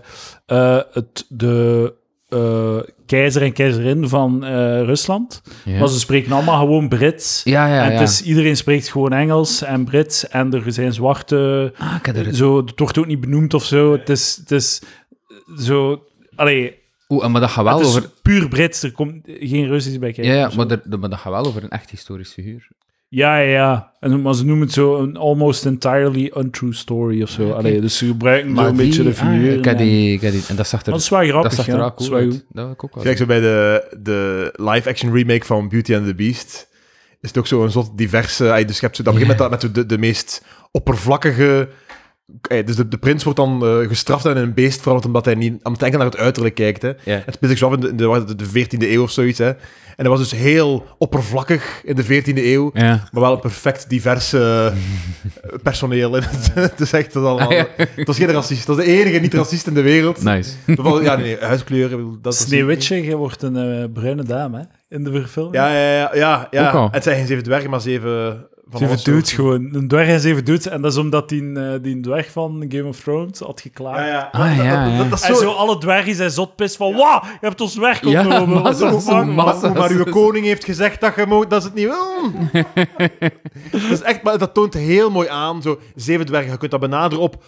B: eh, het, de eh, keizer en keizerin van eh, Rusland.
C: ja.
B: Maar ze spreken allemaal gewoon Brits.
C: ja, ja,
B: en
C: ja.
B: het is, iedereen spreekt gewoon Engels en Brits en er zijn zwarte.
C: Ah, ik heb er-
B: Zo, het wordt ook niet benoemd of zo. Het is, het is zo. Allee,
C: Oeh, maar dat gaat wel
B: het is
C: over...
B: puur Brits. Er komt geen Russisch bij kijken.
C: Ja, ja
B: of zo.
C: maar, er- maar dat gaat wel over een echt historisch figuur.
B: ja, ja, ja. En, maar ze noemen het zo een almost entirely untrue story of zo. Allee, dus ze gebruiken zo'n beetje de
C: ah,
B: figuur.
C: ik heb die, ik heb die, en dat zag er,
B: Dat is wel grappig.
C: dat zag er
B: ja.
C: ook
B: Dat is
C: cool
B: wel
C: uit.
B: goed.
C: Dat wil ik ook wel.
A: Kijk zo bij de, de live-action remake van Beauty and the Beast. Is het ook zo'n soort diverse... ey, Dus je hebt zo, dat begint met, dat, met zo de, de meest oppervlakkige... ey, dus de, de prins wordt dan eh, gestraft en in een beest veranderd omdat hij niet... Omdat hij enkel naar het uiterlijk kijkt, hè.
C: zien. Ja.
A: Het speelt zich zo af in de, in de, de 14e eeuw of zoiets, hè. En dat was dus heel oppervlakkig in de 14e eeuw.
C: Ja.
A: Maar wel perfect diverse eh, personeel. in het. Het is echt dat allemaal...
B: Ah,
A: Het was geen racist. Het was de enige niet-racist in de wereld.
C: Nice.
A: Bijvoorbeeld, Ja, nee, huidskleur. ik bedoel, Dat was-
B: Sneeuwwitje, je wordt een eh, bruine dame hè, in de verfilming.
A: Ja, ja, ja. ja, ja.
C: Ook al.
A: Het zijn geen zeven dwergen, maar zeven Van
B: Zeven
A: alles
B: dudes
A: soorten.
B: gewoon. Een dwerg en zeven dudes. En dat is omdat die, eh, die dwerg van Game of Thrones had geklaagd.
A: Ja, ja.
D: Ah, ja, ja.
A: Dat, dat, is
B: En
A: zo-
B: zo alle dwergen zijn zotpis van... Wauw, je hebt ons werk
C: Ja,
B: opgenomen.
C: maar
B: What the
C: zo-
B: fuck?"
C: zo-
A: Maar,
C: Massa's.
A: maar uw koning heeft gezegd dat je mo- dat is het niet wil. dat is echt, maar dat toont heel mooi aan. Zo, zeven dwergen, je kunt dat benaderen op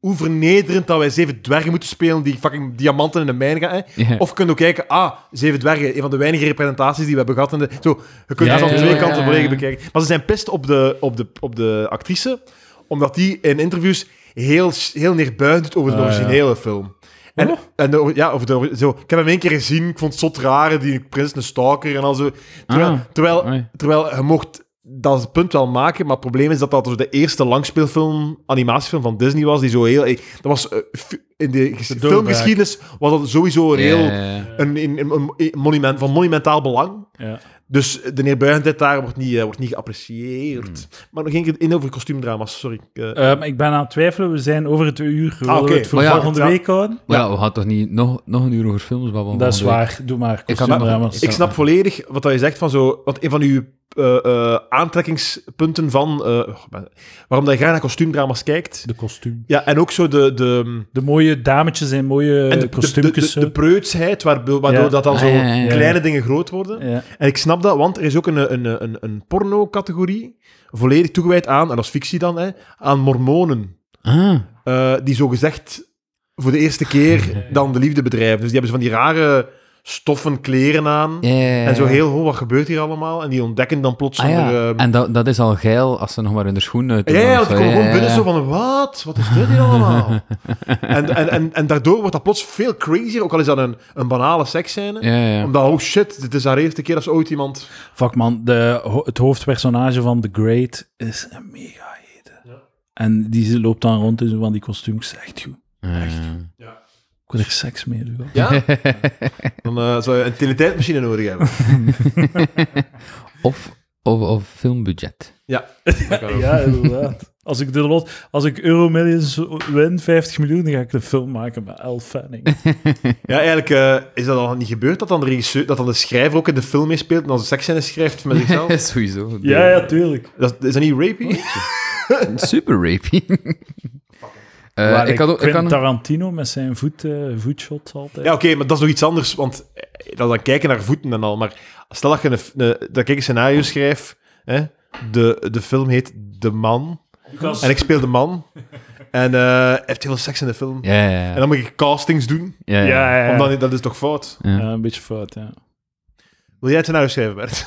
A: hoe vernederend dat wij zeven dwergen moeten spelen die fucking diamanten in de mijn gaan. Hè.
C: Ja.
A: Of je kunt ook kijken, ah, zeven dwergen, een van de weinige representaties die we hebben gehad. In de, zo, je kunt
C: Ja,
A: dat van
C: ja,
A: twee
C: ja,
A: kanten
C: ja.
A: volledig bekijken. Maar ze zijn pist op de, op de, op de actrice, omdat die in interviews heel, heel neerbuigend doet over de
B: Ah, ja.
A: originele film.
C: Oh.
A: En, en de, ja, of de, zo, ik heb hem één keer gezien, ik vond het zot raar, die prins een stalker en al zo. Terwijl,
C: Ah.
A: terwijl,
C: Oei.
A: terwijl je mocht dat punt wel maken, maar het probleem is dat dat dus de eerste langspeelfilm, animatiefilm van Disney was, die zo heel... Dat was... eh, fi- in de ges-
B: doorbraak.
A: filmgeschiedenis was dat sowieso een heel...
C: Ja, ja, ja.
A: Een, een, een- een monument, van monumentaal belang.
B: Ja.
A: Dus de neerbuigendheid daar wordt niet, eh, wordt niet geapprecieerd.
C: Hmm.
A: Maar nog één keer in over kostuumdrama's, sorry. Ik, eh,
B: Ehm, ik ben aan het twijfelen. We zijn over het uur. Willen
A: Ah, oké.
B: we het voor
C: Maar ja,
B: volgende
A: ja. Oh,
B: week houden?
C: Maar ja, we hadden toch niet nog, nog een uur over films babbelen?
B: Dat is
C: volgende week?
B: waar. Doe maar.
C: Ik had-
B: kostuumdrama's.
A: Ik snap volledig wat dat je zegt van zo. Want een van uw eh, eh, aantrekkingspunten van. eh, oh, ben- waarom dat je graag naar kostuumdrama's kijkt.
B: De kostuum.
A: Ja, en ook zo de. de
B: De mooie dametjes en mooie
A: en de, de, de,
B: kostuumjes.
A: de, de preutsheid, waar- waardoor
B: Ja.
A: dat dan
C: Ah,
A: zo
C: ja, ja, ja.
A: kleine dingen groot worden.
B: ja.
A: En ik snap dat, want er is ook een, een, een, een porno-categorie, volledig toegewijd aan, en dat is fictie dan, hè, aan mormonen.
C: Ah,
A: eh, die zogezegd voor de eerste keer dan de liefde bedrijven. Dus die hebben zo van die rare stoffen kleren aan.
C: ja, ja, ja,
A: En zo
C: ja.
A: heel, oh, wat gebeurt hier allemaal? En die ontdekken dan plots
C: Ah, ja.
A: zonder, ehm,
C: En dat, dat is al geil als ze nog maar in de schoenen uit
A: ja, ja,
C: of
A: dat
C: zo.
A: komt gewoon
C: ja,
A: binnen
C: ja.
A: zo van, wat? Wat is dit hier allemaal? en, en, en, en daardoor wordt dat plots veel crazier, ook al is dat een, een banale seksscène.
C: Ja, ja, ja.
A: Omdat, oh shit, dit is haar eerste keer als ooit iemand...
B: Fuck man, de, ho- het hoofdpersonage van The Great is een mega hete. En die loopt dan rond in zo van die kostuums. Echt goed.
C: Ja,
B: Ik wil er seks mee doen.
A: Ja? dan eh, zou je een teletijdmachine nodig hebben.
C: Of, of, of filmbudget.
A: Ja.
B: Ja, inderdaad. Als ik, de lot, als ik Euromillions win, 50 miljoen, dan ga ik een film maken met Elle Fanning.
A: ja, eigenlijk eh, is dat al niet gebeurd, dat dan de regisseur, dat dan de schrijver ook in de film meespeelt en dan zijn seksscène schrijft met zichzelf.
C: Sowieso.
B: Ja, ja, tuurlijk.
A: dat, is dat niet rapey?
C: Super rapy. Eh,
B: Waar
C: ik had ook... Ik
B: Quentin
C: had nog-
B: Tarantino met zijn voet, eh, voetshots altijd.
A: Ja, oké, maar dat is nog iets anders, want eh, dan, dan kijken naar voeten en al. Maar stel dat je een, f- een- dat ik een scenario schrijf, hè, de, de film heet De Man, en ik speel De Man, en eh heeft heel veel seks in de film.
C: Ja, ja,
A: En
C: ja.
A: dan moet ik castings doen,
C: Ja,
B: ja,
C: ja.
B: ja, ja.
A: omdat dat is toch fout?
B: Ja, een beetje fout, ja.
A: Wil jij het scenario schrijven, Bert?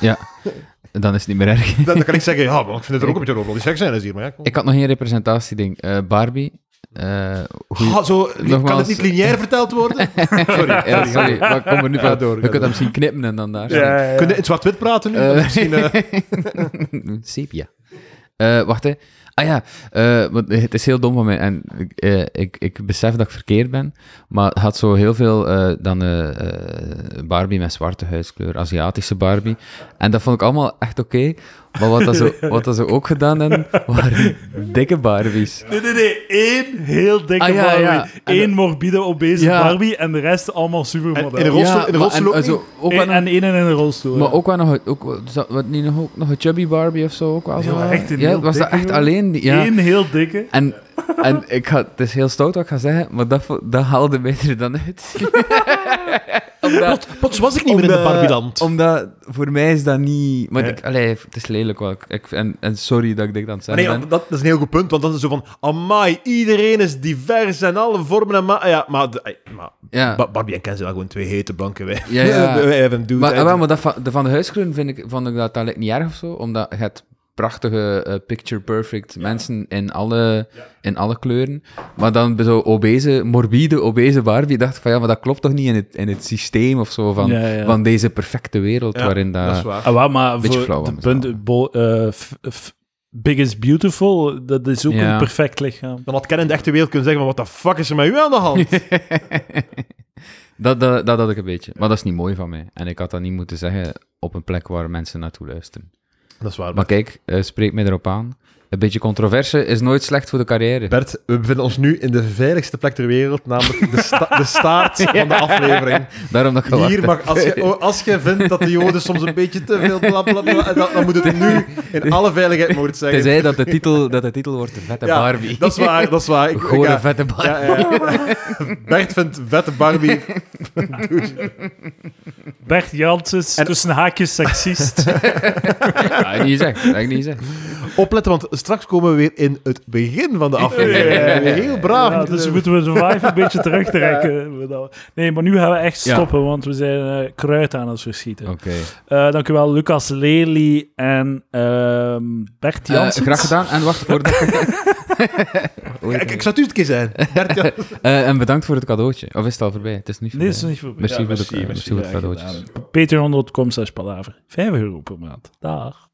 C: Dan is het niet meer erg.
A: Dan, dan kan ik zeggen, ja, maar ik vind het er ook een beetje over, die seks zijn is hier, maar ja, kom.
C: Ik had nog geen representatieding. Eh Barbie. Eh goeie-
A: Ah, zo, kan het
C: Nogmaals.
A: niet lineair verteld worden?
C: Ja,
A: sorry, sorry.
C: Eh, sorry, maar ik kom er nu
A: Ga door,
C: van. door.
A: ga
C: Je kunt
A: door.
C: hem zien knippen en dan daar.
B: Ja, ja, ja.
A: Kunnen we in zwart-wit praten nu? Dat is misschien, eh,
C: Mm, Sepia. Eh, wacht, hè. Ah ja, eh, want het is heel dom van mij en ik, eh, ik, ik besef dat ik verkeerd ben, maar het had zo heel veel eh, dan eh, eh, Barbie met zwarte huidskleur, Aziatische Barbie. En dat vond ik allemaal echt oké, maar wat dat, zo, wat dat ze ook gedaan hebben, waren dikke Barbies.
B: Nee, nee, nee. Eén heel dikke
C: Ah, ja,
B: Barbie.
C: ja. En
B: Eén
C: de-
B: morbide, obese
C: Ja.
B: Barbie en de rest allemaal
A: En- en
B: supermodellen.
A: een rolstoel- in de
C: maar-
A: rolstoel
C: en,
A: ook
C: eh, zo, ook wel
B: En,
C: nog-
B: en één in een rolstoel.
C: Maar
B: ja.
C: ook wel nog, ook, wel- zat- wat, niet nog, ook nog een chubby Barbie of zo, ook wel zo.
B: maar echt een
C: ja,
B: heel
C: was dat
B: dikke,
C: echt
B: joh.
C: alleen die, ja.
B: Eén heel dikke.
C: En, en ik ga, het is heel stout wat ik ga zeggen, maar dat, vo- dat haalde mij er dan uit. omdat,
A: Plots was ik niet meer in de
C: Omdat-
A: Barbieland.
C: omdat voor mij is dat niet. Maar
B: Ja.
C: ik, allee, het is lelijk wat ik. ik- en, en sorry dat ik dit aan het
A: Maar nee,
C: zeggen ben.
A: want dat, dat is een heel goed punt, want dan is het zo van, amai, iedereen is divers en alle vormen en ma ah, Ja, maar, de- ey, maar
C: Ja.
A: Ba- Barbie en Ken zijn wel gewoon twee hete blanke wij.
C: Ah. Ja, ja.
A: wij hebben een dude.
C: Maar, ah,
A: uit-
C: wel, maar dat van de, van de huiskleuren vind ik, vond ik dat, dat lijkt niet erg of zo, omdat je hebt prachtige eh, picture perfect mensen in alle, in alle kleuren. Maar dan bij zo'n obese, morbide, obese Barbie dacht ik van ja, maar dat klopt toch niet in het, in het systeem of zo van,
B: Ja, ja.
C: van deze perfecte wereld
A: Ja,
C: waarin dat...
A: dat is waar.
B: Ah, wel, maar
C: Beetje
B: voor
C: flauw
B: de
C: van mezelf.
B: punt, bo- eh, f- f- Big is Beautiful, dat is ook
C: Ja.
B: een perfect lichaam.
A: Dan had Ken in de echte wereld kunnen zeggen, maar wat de fuck is er met u aan de hand?
C: dat, dat, dat had ik een beetje. Maar dat is niet mooi van mij. En ik had dat niet moeten zeggen op een plek waar mensen naartoe luisteren.
A: dat is waar.
C: Maar
A: Maar,
C: kijk, eh, spreek mij erop aan. Eh, Een beetje controverse is nooit slecht voor de carrière.
A: Bert, we bevinden ons nu in de veiligste plek ter wereld, namelijk de, sta- de staart van de aflevering.
C: Daarom dat je
A: Hier mag, als je, oh, als je vindt dat de joden soms een beetje te veel blablabla, dan, dan moet het nu in alle veiligheid moord zeggen.
C: Tenzij dat de titel, dat de titel wordt de vette
A: Ja,
C: Barbie.
A: Dat is waar, dat is waar. Ik,
C: Gewoon
A: ja,
C: een vette Barbie.
A: ja, ja. Bert vindt vette Barbie.
B: Bert Janssens,
A: En-
B: tussen haakjes seksist. dus
C: Ja, dat heb ik niet gezegd. Dat heb ik niet gezegd.
A: Opletten, want straks komen we weer in het begin van de aflevering.
B: Ja, ja, ja.
A: Heel braaf.
B: Ja, dus moeten we de vibe een beetje terugtrekken. Nee, maar nu gaan we echt
C: Ja. Oh.
B: stoppen, want we zijn eh, kruid aan het verschieten.
C: Oké.
B: Eh, dankjewel, Lucas Lely en ehm Bert
C: Eh,
B: Janssens.
C: graag gedaan. En wacht voor. Oei.
A: Ik, ik zou het u het keer zijn. Bert, ja.
C: Eh, en bedankt voor het cadeautje. Of is het al voorbij? Het is niet
B: Nee,
C: voorbij.
B: dat is niet voorbij.
C: Merci
A: Ja,
C: voor de
A: merci,
C: eh,
A: merci
C: voor de
A: dat je
C: cadeautjes.
A: gedaan
B: Patreon.com slash palaver. 5 euro per maand. Dag.